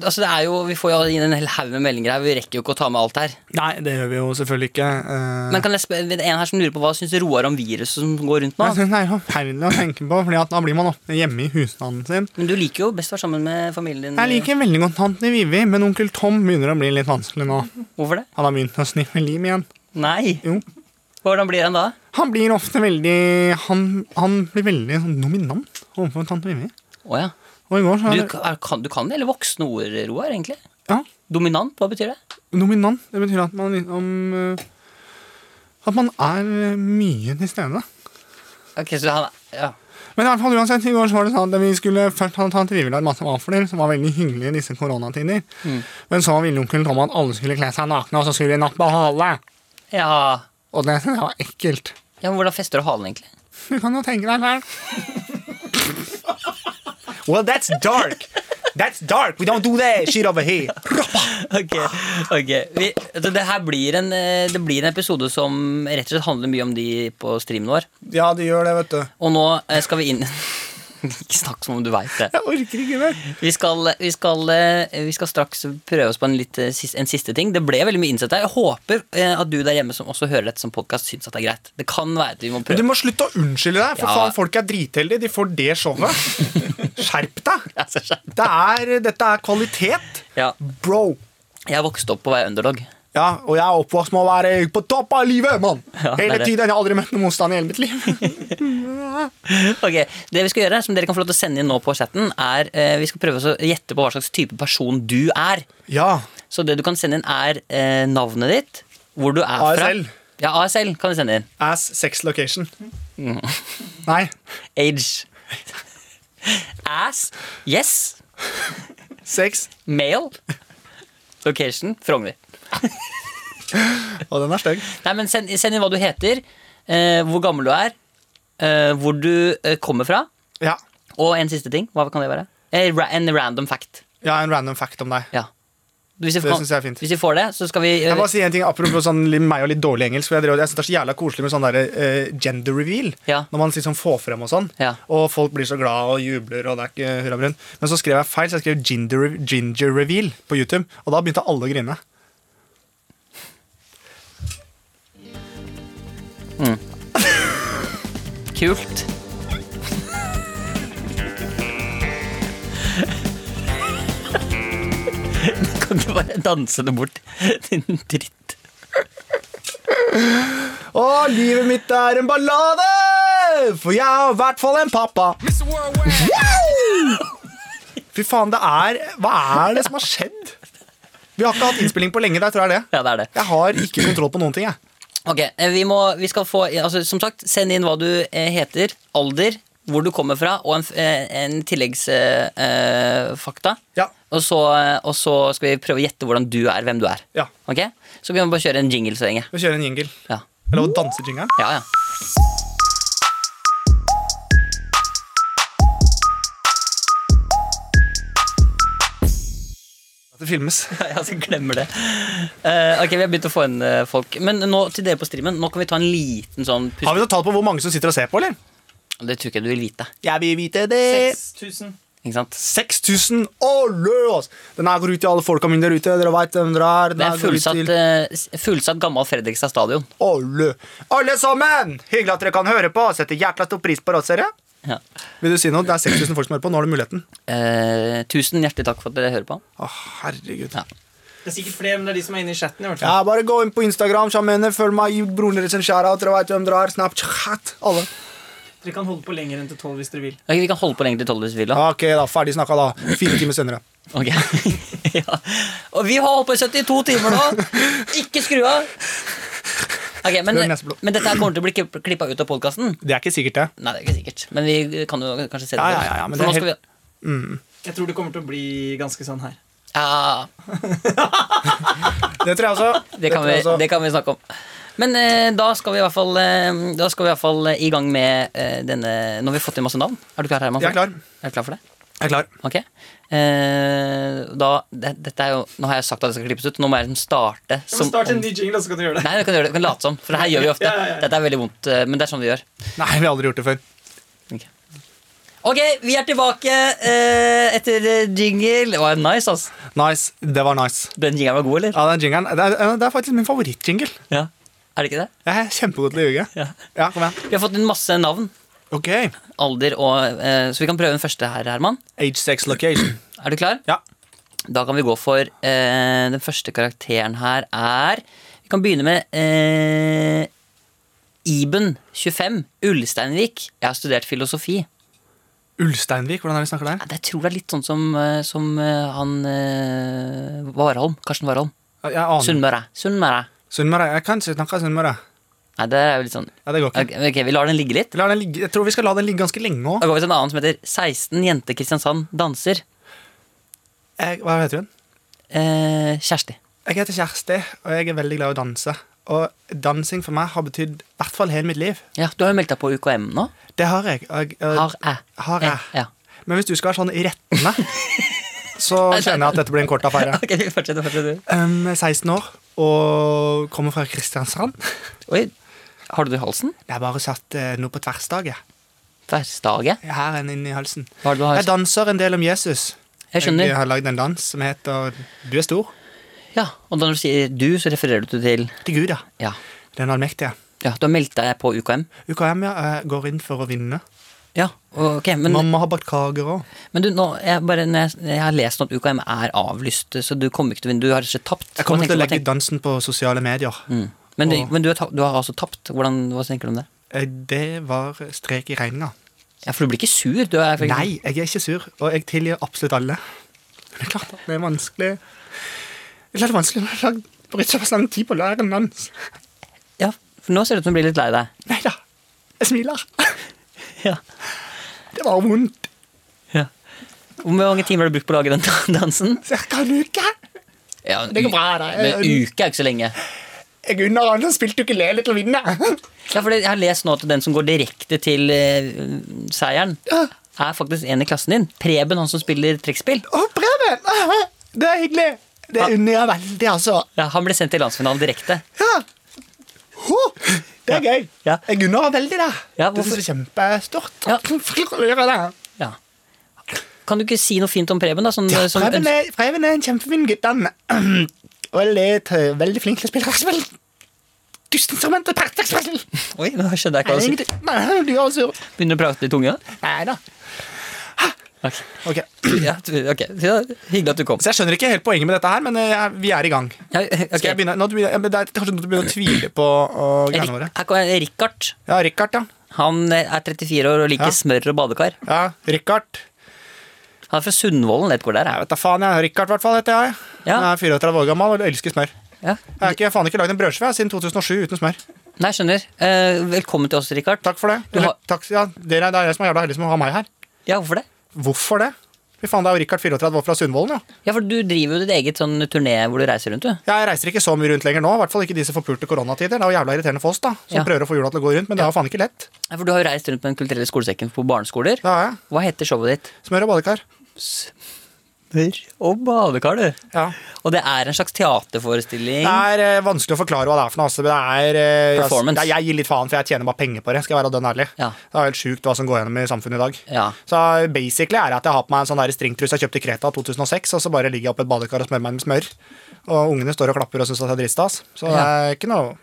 altså det er jo, vi får jo inn en hel haug med meldinger her. Vi rekker jo ikke å ta med alt her.
Nei, det gjør vi jo selvfølgelig ikke. eh.
Men kan jeg spørre, det er en her som lurer på hva syns Roar om viruset som går rundt nå?
Jeg synes Altså, det er jo forferdelig å tenke på, Fordi at da blir man ofte hjemme i husstanden sin.
Men du liker jo best å være sammen med familien din.
Jeg liker veldig godt tante Vivi, men onkel Tom begynner å bli litt vanskelig nå.
Hvorfor det?
Han har begynt å sniffe lim igjen.
Nei.
Jo.
Hvordan blir han da?
Han blir ofte veldig Han, han blir veldig sånn dominant overfor tante Vivi.
Å ja.
Og i går så
Du, er, kan, du kan hele voksne ord, Roar, egentlig.
Ja.
Dominant, hva betyr det?
Dominant, det betyr at man liksom eh, At man er eh, mye til stede.
Ok, så han ja.
Men i hvert fall uansett, i går så var det sånn at vi skulle først ha tatt rivelagd masse vafler, som var veldig hyggelig i disse koronatider. Men så ville onkel Tom at alle skulle kle seg nakne, og så skulle de nappe hale.
ja.
Og det synes jeg var ekkelt.
Ja, men Hvordan fester du halen, egentlig?
Du kan jo tenke deg selv. well, that's dark. That's dark. We don't do that shit over here.
Ok, ok Vi, så Det her blir en, eh, det blir en episode som rett og slett handler mye om de på streamen vår.
Ja, det gjør det, vet du.
Og nå eh, skal vi inn Ikke snakk som om du veit det.
Jeg orker ikke mer.
Vi skal, vi, skal, eh, vi skal straks prøve oss på en, litt, eh, sis- en siste ting. Det ble veldig mye innsett her. Jeg håper eh, at du der hjemme som også hører dette som podkast, syns at det er greit. Det kan være at vi må
Men du
prøve.
må slutte å unnskylde deg, for
Ja.
faen, folk er dritheldige. De får det showet. Skjerp deg!
Altså,
Det er, dette er kvalitet,
Ja,
bro.
jeg vokste opp på å være underdog.
Ja, og jeg er oppvokst med å være på topp av livet, mann!
Ja, det er
Hele
det.
tiden. Jeg har aldri møtt noen motstand i hele mitt liv.
Ok, Det vi skal gjøre, som dere kan få lov til å sende inn nå på chatten, er eh, vi skal prøve oss å gjette på hva slags type person du er.
Ja,
Så det du kan sende inn, er eh, navnet ditt, hvor du er fra.
ASL.
Ja, ASL kan du sende inn.
Ass sex location. Nei.
Age. Ass. Yes.
Sex.
Male. Location. Frogner.
Og den er stygg.
Nei, men send, send inn hva du heter, eh, hvor gammel du er, eh, hvor du eh, kommer fra,
Ja.
og en siste ting. Hva kan det være? Eh, ra en random fact.
Jeg har en random fact om deg.
Ja. Hvis vi
Det
kan-
synes jeg er fint.
Hvis vi får det, så skal vi eh,
Jeg bare si en ting Apropos sånn, litt meg og litt dårlig engelsk. For jeg, drev, jeg synes Det er så jævla koselig med sånn der, eh, gender reveal.
Ja.
Når man liksom får frem og sånn.
Ja.
Og folk blir så glad og jubler. Og det er ikke hurra brunn. Men så skrev jeg feil, så jeg skrev ginger, ginger reveal på YouTube. Og da begynte alle å grine.
Kult. Det kan kan du bare danse det bort? Din dritt.
Å, livet mitt er en ballade! For jeg har i hvert fall en pappa.
Fy faen, det er Hva er det som har skjedd? Vi har ikke hatt innspilling på lenge. Det tror jeg er det.
Ja, det er det.
Jeg har ikke kontroll på noen ting. jeg
Ok, eh, vi, må, vi skal få altså, Som sagt, send inn hva du eh, heter, alder, hvor du kommer fra, og en, f- eh, en tilleggsfakta. Eh, fakta.
Ja.
og, så, eh, og så skal vi prøve å gjette hvordan du er, hvem du er.
Ja.
Ok? Så kan vi bare kjøre en jingle så lenge.
Vi kjører en jingle.
Ja,
Eller å danse jingelen.
ja. ja.
Det filmes.
Jeg altså glemmer det. Eh, ok, Vi har begynt å få inn eh, folk. Men nå til dere på streamen, nå kan vi ta en liten sånn pust...
Har vi noe tall på hvor mange som sitter og ser på, eller?
Det tror jeg ikke du vil vite.
Jeg vil vite det.
6000.
Ikke sant?
6000. Alle, ass! Den her går ut til alle folka mine der ute. Dere veit hvem dere er. Den
Det
her
er
går ut
fullsatt,
til-
eh, s- fullsatt gammel Fredrikstad stadion.
Alle. Alle sammen! Hyggelig at dere kan høre på. Setter jækla stor pris på oss, dere.
Ja.
Vil du si noe? Det er 6000 folk som hører på. Nå har du muligheten.
Eh, tusen hjertelig takk for at dere hører på.
Å, herregud.
Ja.
Det er sikkert flere, men det er de som er inne i chatten. i hvert fall
Ja, bare gå inn på Instagram, sjamener, følg meg, gi broren deres en skjæra, dere veit hvem dere er. Snapchat. Alle.
Dere kan holde på lenger enn til tolv hvis dere vil.
Ok, Vi kan holde på lenger til tolv hvis vi vil. da.
Ok, da. Ferdig snakka, da. Fire timer senere.
Ok. ja. Og vi har holdt på i 72 timer nå! Ikke skru av! Ok, men,
Hør neseblod.
men dette her kommer til å bli klippa ut av podkasten?
Det er ikke sikkert, det.
Nei, det er ikke sikkert. Men vi kan jo kanskje se det
Ja, ja,
først.
ja, ja, men
For
det er
nå skal
helt-
vi-
Jeg tror det kommer til å bli ganske sånn her.
ja.
Det tror jeg også.
Det kan,
tror jeg
vi,
også.
det kan vi snakke om. Men eh, da skal vi i hvert fall, eh, da skal vi i, hvert fall eh, i gang med eh, denne Nå har vi fått inn masse navn. Er du klar, Herman?
Jeg er klar.
Er du klar for det?
Jeg er klar.
Ok. Eh, da, det, dette er jo, nå har jeg sagt at det skal klippes ut. Nå må jeg liksom starte.
Jeg må
som
starte
om-
en ny jingle, og så kan du gjøre det.
Nei, du kan gjøre det. Du kan late som. For det her gjør vi ofte.
Ja, ja, ja.
Dette er veldig vondt, eh, men det er sånn vi gjør.
Nei, vi har aldri gjort det før.
Ok, Ok, vi er tilbake eh, etter eh, jingle. Det var nice, ass.
Nice. Det var nice.
Den jingelen var god, eller?
Ja, den jingeren, det, er, det er faktisk min favorittjingle.
Ja. Er det ikke det?
Jeg er kjempegod til å ljuge.
Ja.
Ja, kom igjen.
Vi har fått inn masse navn,
Ok.
alder og eh, Så vi kan prøve den første her, Herman.
Age, sex, location.
Er du klar?
Ja.
Da kan vi gå for eh, Den første karakteren her er Vi kan begynne med eh, Iben, 25, Ullsteinvik. Jeg har studert filosofi.
Ulsteinvik, hvordan er det vi snakker der?
Ja, det tror jeg er litt sånn som, eh, som eh, han eh, Warholm. Karsten Warholm.
Jeg aner.
Sunnmøre. Sunnmøre.
Sunnmøre. Jeg kan ikke snakke sunnmøre.
Nei, det er jo litt sånn
Ja, det går ikke.
Ok, ok, vi lar den ligge litt.
La den ligge- Jeg tror vi skal la den ligge ganske lenge òg.
Da går vi til en annen som heter 16 jente Kristiansand danser.
Hva heter hun?
Eh, Kjersti.
Jeg heter Kjersti, og jeg er veldig glad i å danse. Og dansing for meg har betydd i hvert fall hele mitt liv.
Ja, Du har jo meldt deg på UKM nå.
Det har jeg. Og jeg eh,
Har jeg.
har jeg.
Ja.
Men hvis du skal være sånn rettende, så kjenner jeg at dette blir en kort affære.
Ok, vi fortsetter, fortsetter.
Um, 16 år og kommer fra Kristiansand.
Oi, har du det i halsen?
Jeg har bare satt eh, noe på tverrstaget.
Tverrstaget?
Her enn inni halsen.
Hva er det du
Jeg
har?
danser en del om Jesus.
Jeg skjønner.
Jeg har lagd en dans som heter Du er stor.
Ja, og når du sier du, så refererer du til
Til Gud, ja.
Ja,
Den allmektige.
ja du har meldt deg på UKM.
UKM ja, eh, går inn for å vinne.
Ja, ok, men,
Mamma har bakt kaker òg.
men du, nå, jeg, bare, når jeg, jeg har lest nå at UKM er avlyst, så du kommer ikke til å vinne. Du har rett og slett tapt.
Jeg kommer
Hva
til å legge
tenker
ut
du- hva tenker-
dansen på sosiale medier.
Mm. Men, du,
Åh.
men du, har, ta- du har altså tapt. Hvordan, hva tenker du om det?
Eh, Det var strek i regninga.
Ja, For du blir ikke sur? Du er,
Nei, jeg er ikke sur, og jeg tilgir absolutt alle. Men det er klart at det er vanskelig Det er klart det er vanskelig når jeg har lagd- brukt såpass lang tid på å lære en dans.
Ja, for nå ser det ut som du blir litt lei deg.
Nei da, jeg smiler.
Ja.
Det var vondt.
Hvor mange timer har du brukt på å lage den dansen?
Cirka en uke.
Ja,
Det går bra, da.
Men uke er ikke så lenge.
Jeg unner alle som spilte ukulele til å vinne.
Ja, for jeg har lest nå at den som går direkte til eh, seieren, er faktisk en i klassen din. Preben, han som spiller trekkspill.
Å, Preben! Det er hyggelig. Det unner jeg veldig, altså.
Ja, han ble sendt til landsfinalen direkte.
Ja. Ho, Det er gøy.
Ja.
Jeg unner henne veldig det.
Ja,
det
hvorfor-
er så kjempestort.
Ja.
Hvorfor gjør jeg det?
Ja. Kan du ikke si noe fint om Preben, da? Som,
Ja,
som
Preben
ønsker-
er, Preben er en kjempefin gutt. Han veldig, t- veldig flink til å spille raskspill. Dustinstrumenter, praktespill.
Oi, nå skjønner jeg ikke hva du sier.
Nei, du er sur.
Begynner å prate litt tunge?
Nei da. Ok.
Ja, du- ok, ja, Hyggelig at du kom.
Så jeg skjønner ikke helt poenget med dette her, men eh, jeg, vi er i gang.
Ja, ok.
Skal jeg begynne? Nå, begynner jeg- men det er kanskje noe du begynner å tvile på og
Rik-
greiene våre.
Her kommer Richard.
Ja, Richard, ja.
Han eh, er 34 år og liker
Ja.
smør og badekar.
ja Richard.
Han er fra Sundvolden. vet hvor det er.
Jeg vet da faen, jeg. Richard, i hvert fall, heter jeg.
Ja.
Jeg er 34 år gammel og elsker smør.
Ja.
Jeg har ikke, jeg har faen ikke lagd en brødskive jeg, siden 2007 uten smør.
Nei, skjønner. Eh, velkommen til oss, Richard.
Takk for det.
Du
Eller,
har-
takk, ja, dere, det er dere som er jævla heldige som har meg her.
Ja, hvorfor det?
Hvorfor det? Fy faen, det er jo Richard 34 år fra Sundvolden, jo.
Ja, for du driver jo ditt eget sånn turné hvor du reiser rundt, du.
Jeg reiser ikke så mye rundt lenger nå, i hvert fall ikke de som forpulte koronatider. Det er jo jævla irriterende for oss, da, som
Ja.
prøver å få jula til å gå rundt, men det er jo faen ikke lett.
Ja, for du har jo reist rundt med Den kulturelle skolesekken på barneskoler.
Det har jeg.
Hva heter showet ditt?
Smør og badekar.
Smør og badekar, du.
Ja.
Og det er en slags teaterforestilling.
Det er eh, vanskelig å forklare hva det er for noe. Altså, men det er, eh,
Performance.
Jeg, jeg gir litt faen, for jeg tjener bare penger på det. Skal jeg være dønn ærlig.
Ja.
Det er helt sjukt hva som går gjennom i samfunnet i dag.
Ja.
Så basically er det at jeg har på meg en sånn der stringtrus jeg kjøpte i Kreta 2006, og så bare ligger jeg oppe i et badekar og smører meg med smør. Og ungene står og klapper og syns at jeg er dritstas. Så det er ikke noe,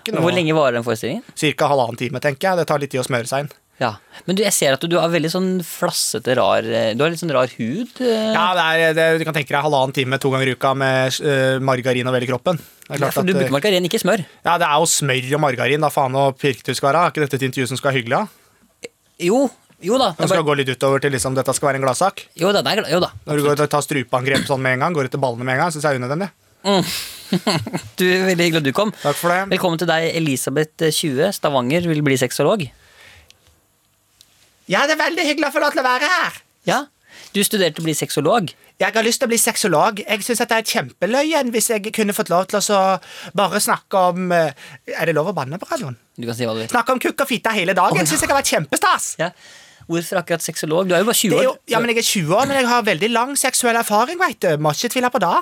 ikke noe
Hvor lenge varer den forestillingen?
Cirka halvannen time, tenker jeg. Det tar litt tid å smøre seg inn.
Ja. Men du, jeg ser at du, du har veldig sånn flassete, rar eh, Du har litt sånn rar hud. eh.
Ja, det er, det, Du kan tenke deg halvannen time to ganger i uka med eh, margarin og vel i kroppen. Det
Ja,
er klart
for du
at, eh,
bruker margarin, ikke smør.
ja, det er jo smør og margarin, da faen og pirket du skal være. Er ikke dette et intervju som skal være hyggelig? da?
Jo. Jo da. det
Den
er
skal
bare,
gå litt utover til liksom, dette skal være en gladsak.
jo da, det er, gla- jo da.
Når du går til å ta strupeangrep sånn med en gang, går etter ballene med en gang, syns jeg er unødvendig.
Du, Veldig hyggelig at du kom.
Takk for det.
Velkommen til deg, Elisabeth eh, 20, Stavanger, vil bli sexolog.
Ja, det er veldig hyggelig å få lov til å være her.
Ja. Du studerte å bli sexolog.
Jeg har lyst til å bli sexolog. Jeg syns det er kjempeløyen hvis jeg kunne fått lov til å så bare snakke om eh, Er det lov å banne på radioen?
Du kan si hva du vil.
Snakke om kukk og fitte hele dagen. Syns jeg har vært kjempestas.
Ja. Hvorfor akkurat sexolog? Du er jo bare 20
Det er
år.
jo, ja, men Jeg er 20 år, men jeg har veldig lang seksuell erfaring. Vet du. Må ikke tvile på det.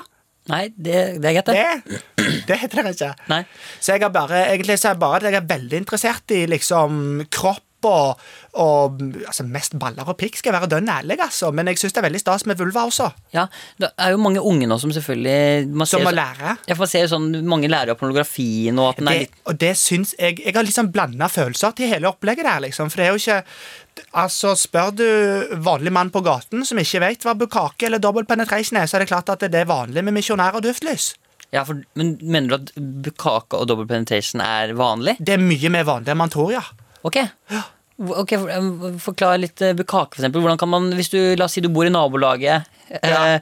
Nei, det, det er greit, det.
Det, det heter det ikke.
Nei.
Så jeg er bare, egentlig så er jeg bare at jeg er veldig interessert i liksom kropp og, og altså, Mest baller og pikk, skal jeg være dønn ærlig, altså. Men jeg syns det er veldig stas med vulva også,
Ja, det er jo mange unge nå som selvfølgelig man
som
ser,
å lære.
Ja, for man ser jo sånn, Mange lærer av pornografien og at den er
Det,
litt
og det syns jeg Jeg har liksom blanda følelser til hele opplegget der, liksom. For det er jo ikke Altså, spør du vanlig mann på gaten som ikke vet hva bukake eller dobbel penetration er, så er det klart at det er vanlig med misjonær og duftlys.
ja, for, Men mener du at bukake og double penetration er vanlig?
Det er mye mer vanlig enn man tror, ja.
Ok. Ok, for, eh, Forklar litt eh, bukake, for eksempel. Hvordan kan man, hvis du, la oss si du bor i nabolaget, eh,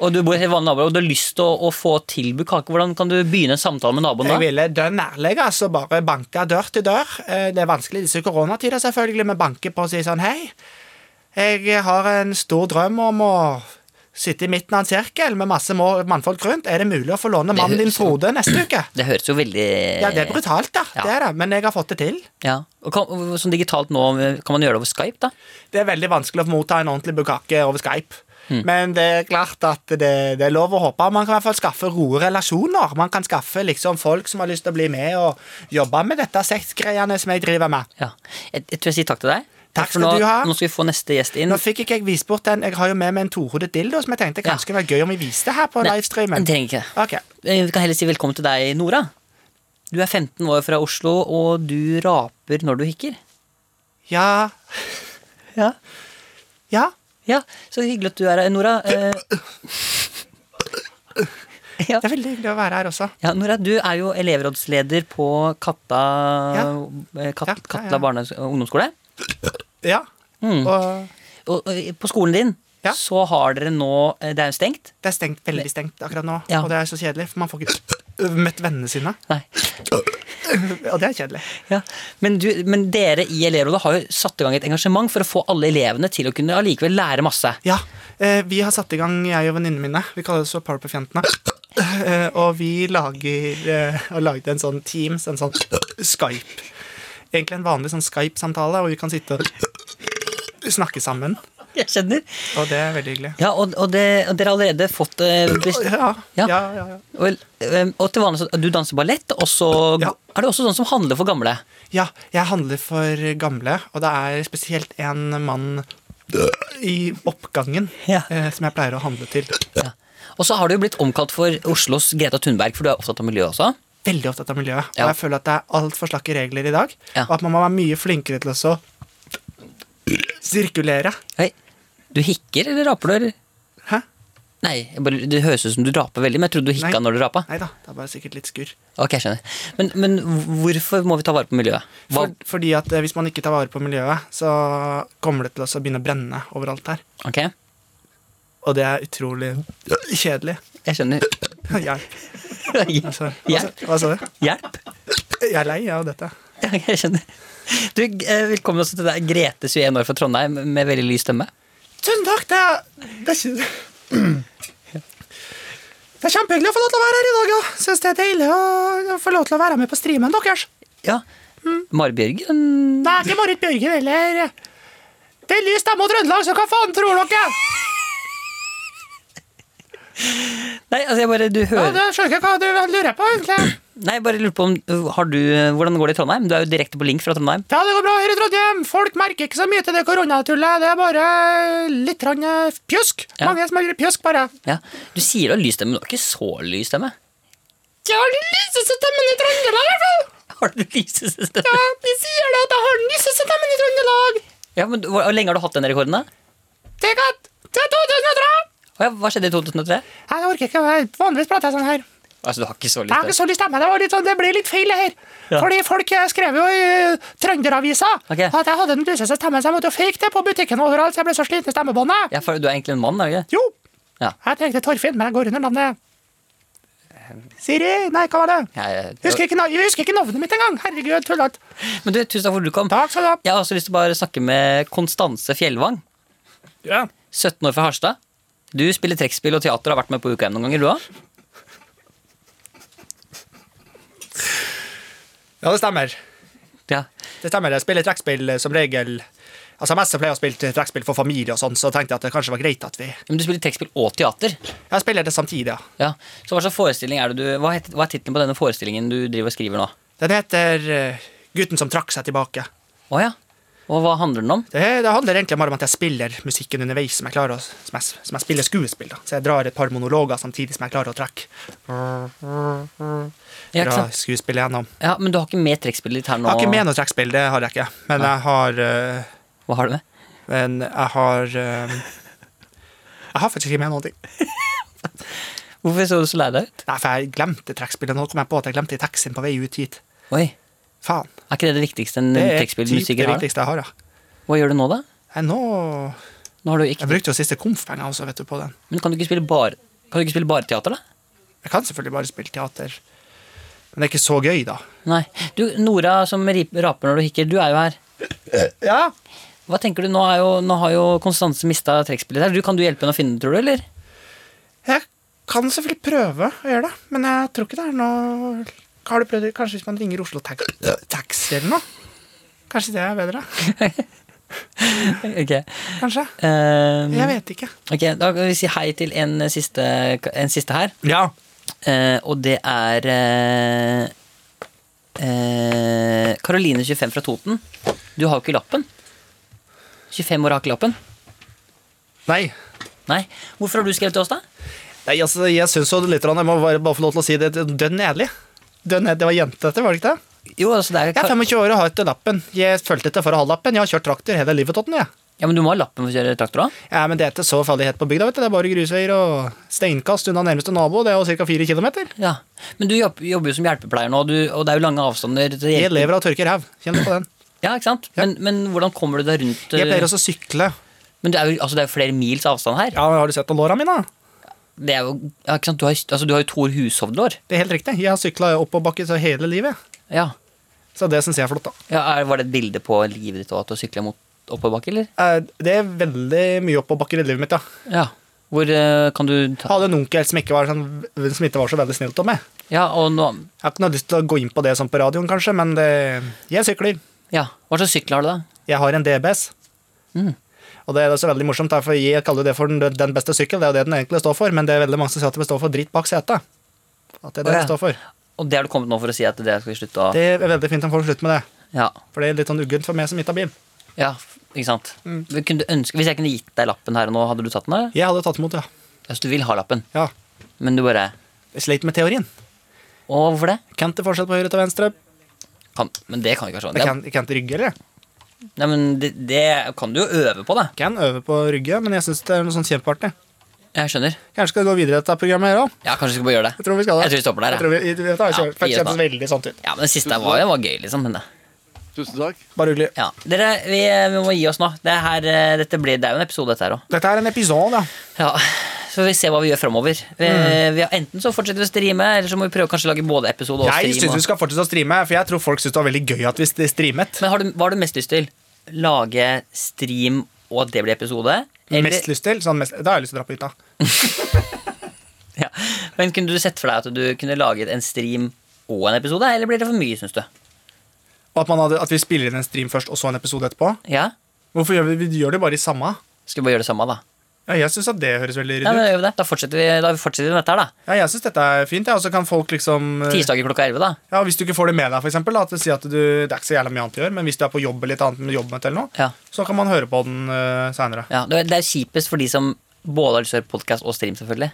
og du bor i et vanlig nabolag, og du har lyst til å, å få til bukake, hvordan kan du begynne en samtale med naboen
Jeg
da?
ville dønn ærlig, altså. Bare banke dør til dør. Eh, Det er vanskelig i disse koronatider, selvfølgelig, men banke på og si sånn Hei, jeg har en stor drøm om å sitte i midten av en sirkel med masse må- mannfolk rundt. Er det mulig å få låne mannen din
høres jo-
Frode neste uke?
Det høres jo veldig
Ja, det er brutalt, da.
Ja.
Det er det. Men jeg har fått det til.
Ja. Og kan, sånn digitalt nå, kan man gjøre det over Skype, da?
Det er veldig vanskelig å motta en ordentlig bukake over Skype.
Mm.
Men det er klart at det, det er lov å håpe. Man kan i hvert fall skaffe gode relasjoner. Man kan skaffe liksom folk som har lyst til å bli med og jobbe med dette sexgreiene som jeg driver med.
Ja. Jeg, jeg tror jeg sier takk til deg.
Takk
for
skal
nå,
du ha.
Nå skal vi få neste gjest inn.
Nå fikk ikke jeg vist bort den. Jeg har jo med meg en tohodet dildo, som jeg tenkte
Ja.
kanskje det var gøy om vi viste her på
Nei,
livestreamen.
jeg trenger ikke det.
Ok,
Eh, Vi kan heller si velkommen til deg, Nora. Du er 15 år fra Oslo, og du raper når du hikker.
ja,
Ja.
ja.
ja. Så hyggelig at du er her, Nora. Eh, ja.
Det er veldig hyggelig å være her også.
ja, Nora, du er jo elevrådsleder på Katta, eh,
Ja, ja,
Kat, Katla
ja.
barne- og ungdomsskole.
Ja.
Mm.
Og
Og, og på skolen din
Ja.
så har dere nå eh, Det er jo stengt.
det er stengt, veldig stengt akkurat nå,
Ja.
og det er så kjedelig, for man får ikke møtt vennene sine.
Nei.
Og det er kjedelig.
Ja, men, du, men dere i elevrådet har jo satt i gang et engasjement for å få alle elevene til å kunne allikevel lære masse.
Ja, eh, vi har satt i gang, jeg og venninnene mine. Vi kaller det så Powerpuff-jentene. Eh, og vi lager eh, har laget en sånn Teams, en sånn Skype. Egentlig en vanlig sånn Skype-samtale, hvor vi kan sitte og snakke sammen.
Jeg skjønner.
Og det er veldig hyggelig.
Ja, og, og, det, og dere har allerede fått eh, best,
Ja,
Ja.
ja, ja, ja, ja.
og, eh, og til vanlig så du danser ballett, og så
Ja.
er det også sånn som handler for gamle.
jeg handler for gamle, og det er spesielt en mann i oppgangen
Ja.
eh, som jeg pleier å handle til.
Ja. Og så har du jo blitt omkalt for Oslos Greta Thunberg, for du er opptatt av miljø også.
Veldig opptatt av miljøet.
Ja.
Og jeg føler at det er altfor slakke regler i dag,
Ja.
og at man må være mye flinkere til å så sirkulere.
Oi. Du hikker eller raper du? eller?
Hæ?
Nei, jeg bare, Det høres ut som du raper veldig, men jeg trodde du hikka
Nei.
når du rapa.
Nei da, det er bare sikkert litt skurr.
Ok, jeg skjønner. Men, men hvorfor må vi ta vare på miljøet? Hva?
For, fordi at eh, hvis man ikke tar vare på miljøet, så kommer det til å så begynne å brenne overalt her.
Ok,
Og det er utrolig kjedelig.
jeg skjønner.
Hjelp.
Hjelp.
Altså, hva, sa-
Hjelp.
hva sa du?
Hjelp.
Jeg er lei av dette.
Ja, ok, jeg skjønner. Du, eh, velkommen også til deg, Grete, 21 år fra Trondheim, med veldig lys stemme.
Tusen takk, det er, det er ikke Det er kjempehyggelig å få lov til å være her i dag, ja. Syns det er deilig å få lov til å være med på streamen deres.
Ja. Mm. Mari Bjørgen
Det er ikke Marit Bjørgen heller. Det er lys stemme og Trøndelag, så hva faen tror dere?
Nei, altså, jeg bare, du
Ja,
hører
det skjønner ikke hva du lurer på, egentlig.
Nei, jeg bare lurer på om har du, Hvordan går det i Trondheim? Du er jo direkte på link fra Trondheim.
Ja, det går bra her i Trondheim. Folk merker ikke så mye til det koronatullet. Det er bare litt rann, eh, pjusk.
Ja.
Mange som har pjusk, bare.
Ja. Du sier du har lys stemme, men du har ikke så lys stemme.
Jeg har den lyseste stemmen i Trøndelag, i hvert fall.
Har du lyseste stemme?
Ja, de sier da at jeg har den lyseste stemmen i Trøndelag.
Ja, men Hvor hvor lenge har du hatt den rekorden? da?
Det er godt. Det er 2003.
Å ja, Hva skjedde i 2003?
Jeg orker ikke, jeg- vanligvis prater jeg sånn her.
Altså, du har ikke så
Jeg har ikke
lyst til
så lyst til meg. Det, var litt sånn, det blir litt feil, det her.
Ja.
Fordi folk eh, skrev jo i eh, Trønderavisa
Ok.
at jeg hadde den lyseste stemmen, så jeg måtte jo fake det på butikken overalt, så jeg ble så sliten i stemmebåndet.
ja, for Du er egentlig en mann, er du ikke?
Jo,
Ja.
jeg tenkte Torfinn, men jeg går under navnet Siri? Nei, hva var det?
Jeg,
Jeg husker ikke, nav- jeg husker ikke navnet mitt engang. Herregud, tullete.
Men du, Tusen takk for at du kom.
Takk skal du ha.
Jeg har også lyst til å bare snakke med Konstanse Fjellvang. 17 år fra Harstad. Du spiller trekkspill og teater og har vært med på UKM noen ganger, du òg?
Ja, det stemmer.
Ja.
Det stemmer. Jeg spiller trekkspill eh, som regel. Altså, Mest pleier jeg å spille trekkspill for familie, og sånn, så tenkte jeg at det kanskje var greit at vi
Men du spiller trekkspill og teater.
Jeg spiller det samtidig, ja.
Ja. Så hva slags forestilling er det du Hva, heter, hva er tittelen på denne forestillingen du driver og skriver nå?
Den heter eh, Gutten som trakk seg tilbake.
Å ja. Og hva handler den om?
Det, det handler egentlig bare om at jeg spiller musikken underveis, som jeg klarer å, som jeg, som jeg spiller skuespill. da. Så jeg drar et par monologer samtidig som jeg klarer å trekke.
Ja, ikke
Dra
sant?
skuespillet gjennom.
ja, Men du har ikke med trekkspillet ditt her nå?
Jeg har ikke med noe trekkspill, det har jeg ikke. Men jeg har eh,
Hva har du med?
Men jeg har eh, Jeg har faktisk ikke med noen ting.
Hvorfor så du så lei deg ut?
Nei, for jeg glemte trekkspillet. Nå kom jeg på at jeg glemte i taxien på vei ut hit.
Oi,
Faen.
Er ikke det det viktigste en
Det er typ det
trekkspillmusiker har?
viktigste jeg har, ja.
Hva gjør du nå, da?
Nei, nå
Nå har du ikke
Jeg brukte jo siste konf-penger også, vet du, på den.
Men kan du ikke spille bare Kan du ikke spille bare teater, da?
Jeg kan selvfølgelig bare spille teater. Men det er ikke så gøy, da.
Nei. Du, Nora som rip- raper når du hikker, du er jo her.
Ja,
Hva tenker du, Nå, er jo, nå har jo Konstanse mista trekkspillet her. Du, kan du hjelpe henne å finne det, tror du, eller?
jeg kan selvfølgelig prøve å gjøre det, men jeg tror ikke det er noe Har du prøvd det? Kanskje hvis man ringer Oslo Tax- Taxi eller noe? Kanskje det er bedre?
Ok.
Kanskje?
Ehm,
Jeg vet ikke.
ok, Da kan vi si hei til en siste, en siste her.
Ja.
Eh, og det er eh, Karoline, 25 eh, fra Toten. Du har jo ikke lappen. 25 år har ikke lappen.
Nei.
Nei. Hvorfor har du skrevet til oss, da?
Nei, altså, jeg syns jo litt rann, Jeg må bare, bare få lov til å si det. det er Dønn edelig. Dønn edelig. Det var jente, dette, var det ikke det?
Jo, altså, det er
Jeg er 25 år og har ikke lappen. Jeg fulgte etter for å ha lappen. Jeg har kjørt traktor hele livet. Totten, jeg.
Ja, Men du må ha lappen for å kjøre traktor òg?
Ja, men det er ikke så farlig helt på bygda. vet du. Det er bare grusveier og steinkast unna nærmeste nabo. Det er jo ca. fire kilometer.
Ja. Men du jobb- jobber jo som hjelpepleier nå, og, du, og det er jo lange avstander. til
Jeg
hjelpe-
lever av tørker hev. Kjenn på den.
Ja, ikke sant? Men, men hvordan kommer du deg rundt
Jeg
eh,
pleier også å sykle.
Men det er, jo, altså, det er jo flere mils avstand her.
Ja, men Har du sett låra mine?
Det er jo, ja, ikke sant? Du, har, altså, du har jo Tor Hushovd-lår.
Det er helt riktig. Jeg har sykla oppoverbakke så hele livet.
Ja.
Så det syns jeg er flott, da.
Ja, er, var det et bilde på livet ditt og at du sykla mot oppoverbakke, eller?
Eh, Det er veldig mye oppoverbakker i livet mitt, ja.
Ja. Hvor eh, kan du
Jeg
ta
hadde en onkel som ikke var, sånn, som ikke var så veldig snill til meg.
Ja, og nå
Jeg har ikke noe lyst til å gå inn på det sånn på radioen, kanskje, men det, jeg sykler.
Ja. Hva slags sykkel har du, da?
Jeg har en DBS.
Mm.
Og det er også veldig morsomt, da, for jeg kaller det for den, den beste sykkel, det er jo det den egentlig står for, men det er veldig mange som sier at det består for dritt bak setet. At det er det
Å, ja.
det står for.
Og det har du kommet nå for å si at det skal vi slutte å
Det er veldig fint om folk slutter med det,
Ja.
for det er litt sånn uggent for meg som ikke har bil.
ja. Ikke sant. Men Kunne du ønske, hvis jeg kunne gitt deg lappen her og nå, hadde du tatt den? eller?
Jeg hadde tatt imot, Mm. ja.
Altså, du vil ha lappen,
ja.
men du bare
Jeg sleit med teorien.
Å, hvorfor det?
Kan ikke forskjell på høyre til venstre.
Kan, men det kan ikke være sånn.
Jeg
Det er
kan, jeg kan ikke rygge, eller?
Nei, men det, det kan du jo øve på, da.
Kan øve på å rygge, men jeg syns det er noe sånn kjempeartig.
Jeg skjønner.
Kanskje skal vi gå videre i dette programmet her òg?
Ja, kanskje vi skal bare gjøre det.
Jeg tror vi skal det.
Jeg tror vi stopper der,
Jeg tror vi, dette har
Ja,
kjørt- faktisk
vi gjør
kjentes
det.
veldig sånn ut.
Ja, men det siste var, var gøy, liksom. Men det.
Tusen takk.
Bare hyggelig.
Ja. Dere, vi, vi må gi oss nå. Det, her, eh, dette blir, det er jo en episode, dette her òg.
Dette er en episode, ja.
Ja, så vi ser hva vi gjør framover. Vi, vi har- enten så fortsetter vi å streame, eller så må vi prøve å kanskje lage både episode og
Mm. Jeg
stream.
syns vi
og-
skal fortsette å streame, for jeg tror folk syns det var veldig gøy at vi st- streamet.
Men har du, hva har du mest lyst til? Lage stream og at det blir episode?
Mest lyst til, sånn mest, Da har jeg lyst til å dra på hytta.
Ja. Men kunne du sett for deg at du kunne laget en stream og en episode, eller blir det for mye, syns du?
Og at, man hadde, at vi spiller inn en stream først, og så en episode etterpå.
Ja?
Hvorfor gjør vi, vi gjør det bare i samme?
Skal vi bare gjøre det samme, da?
Ja, jeg syns at det høres veldig
Ja,
ryddig
men
ut.
da gjør vi det. Da fortsetter vi, da fortsetter vi med dette her, da.
Ja, jeg synes dette er fint, ja, og så kan folk liksom eh,
Tirsdager klokka 11, da.
ja, Hvis du ikke får det med deg, for eksempel, da, at du sier at du, det er ikke så jævla mye annet å gjøre, men hvis du er på jobb eller et annet med jobbmøte eller noe,
Ja.
så kan man høre på den uh, seinere.
Ja, det er- det er kjipest for de som både har lyst til å høre podkast og stream, selvfølgelig.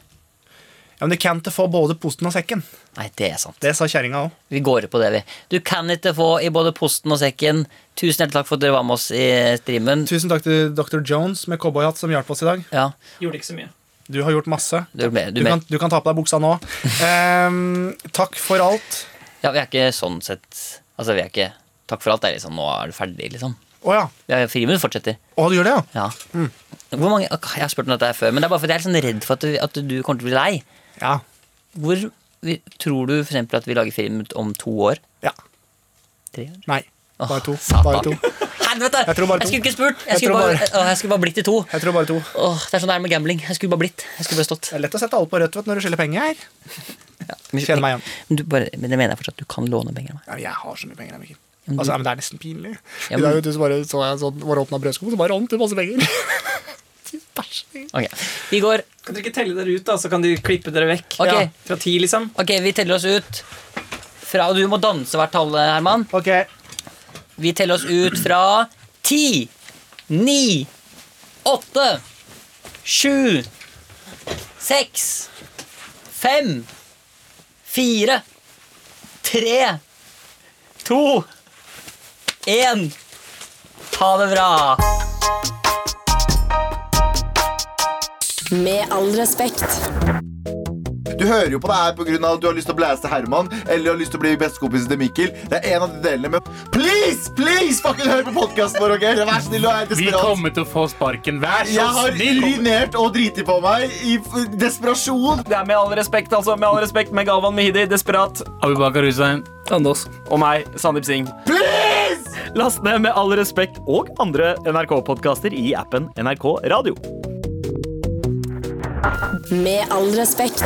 Ja, men du kan ikke få både posten og sekken.
Nei, det er sant.
Det sa kjerringa òg.
Vi går på det, vi. Du kan ikke få i både posten og sekken. Tusen hjertelig takk for at dere var med oss i streamen.
Tusen takk til Dr. Jones med cowboyhatt som hjalp oss i dag.
Ja,
Gjorde ikke så mye.
Du har gjort masse.
du er med. Du
Du
er
kan,
med.
du kan ta på deg buksa nå. Ehm, takk for alt.
Ja, vi er ikke sånn sett Altså, vi er ikke Takk for alt. Det er liksom, nå er du ferdig, liksom.
Å ja.
Ja, Friminutt fortsetter.
Å, du gjør det,
Ja.
ja? Mm.
Hvor mange ok, Jeg har spurt om dette her før, men det er bare fordi jeg er litt sånn redd for at du, at du kommer til å bli lei.
Ja.
Hvor vi, tror du f.eks. at vi lager friminutt om to år?
Ja.
Tre år?
Nei. Bare to.
Åh,
Bare to.
satan. Helvete!
Jeg tror bare to.
skulle ikke spurt! Jeg,
Jeg
skulle
tror
bare,
bare-
Åh, jeg skulle bare blitt i to.
Jeg tror bare to.
Åh, det er sånn det er med gambling. Jeg skulle bare blitt. Jeg skulle bare stått.
Det er lett å sette alle på rødt vet, du, når du skylder penger her. Kjenner meg igjen.
Men, du bare, men det mener jeg fortsatt. Du kan låne penger av meg.
Ja, men jeg har så mye penger. jeg, Mikkel.
men du-
Altså, ja, men Det er nesten pinlig.
Ja,
I
men-
dag vet du, så bare så jeg sånn, bare åpna brødskuffen, så bare rant det masse penger. Fy, bæsj.
Ok, Vi går.
Kan dere ikke telle dere ut, da, så kan de klippe dere vekk?
Ok.
Fra ti, liksom?
ok, vi teller oss ut fra Og du må danse hvert tall, Herman.
ok,
Vi teller oss ut fra ti, ni, åtte, sju, seks, fem, fire, tre, to, én. Ha det bra.
Med all respekt.
Du hører jo på det her pga. at du har lyst til å blæse Herman eller har lyst til å bli bestekompisen til Mikkel. Det er en av de delene, men please, please, fucking hør på podkasten vår, OK? Vær snill og er
Vi
desperat.
kommer til å få sparken. Vær så
Jeg har
snill!
urinert og driti på meg i f- desperasjon.
Det er med all respekt, altså. Med all respekt med Galvan Mehidi, Desperat,
Abubakar Hussein.
Anders og meg, Sandeep Singh.
Please!
Last ned Med all respekt og andre NRK-podkaster i appen NRK Radio.
Med all respekt.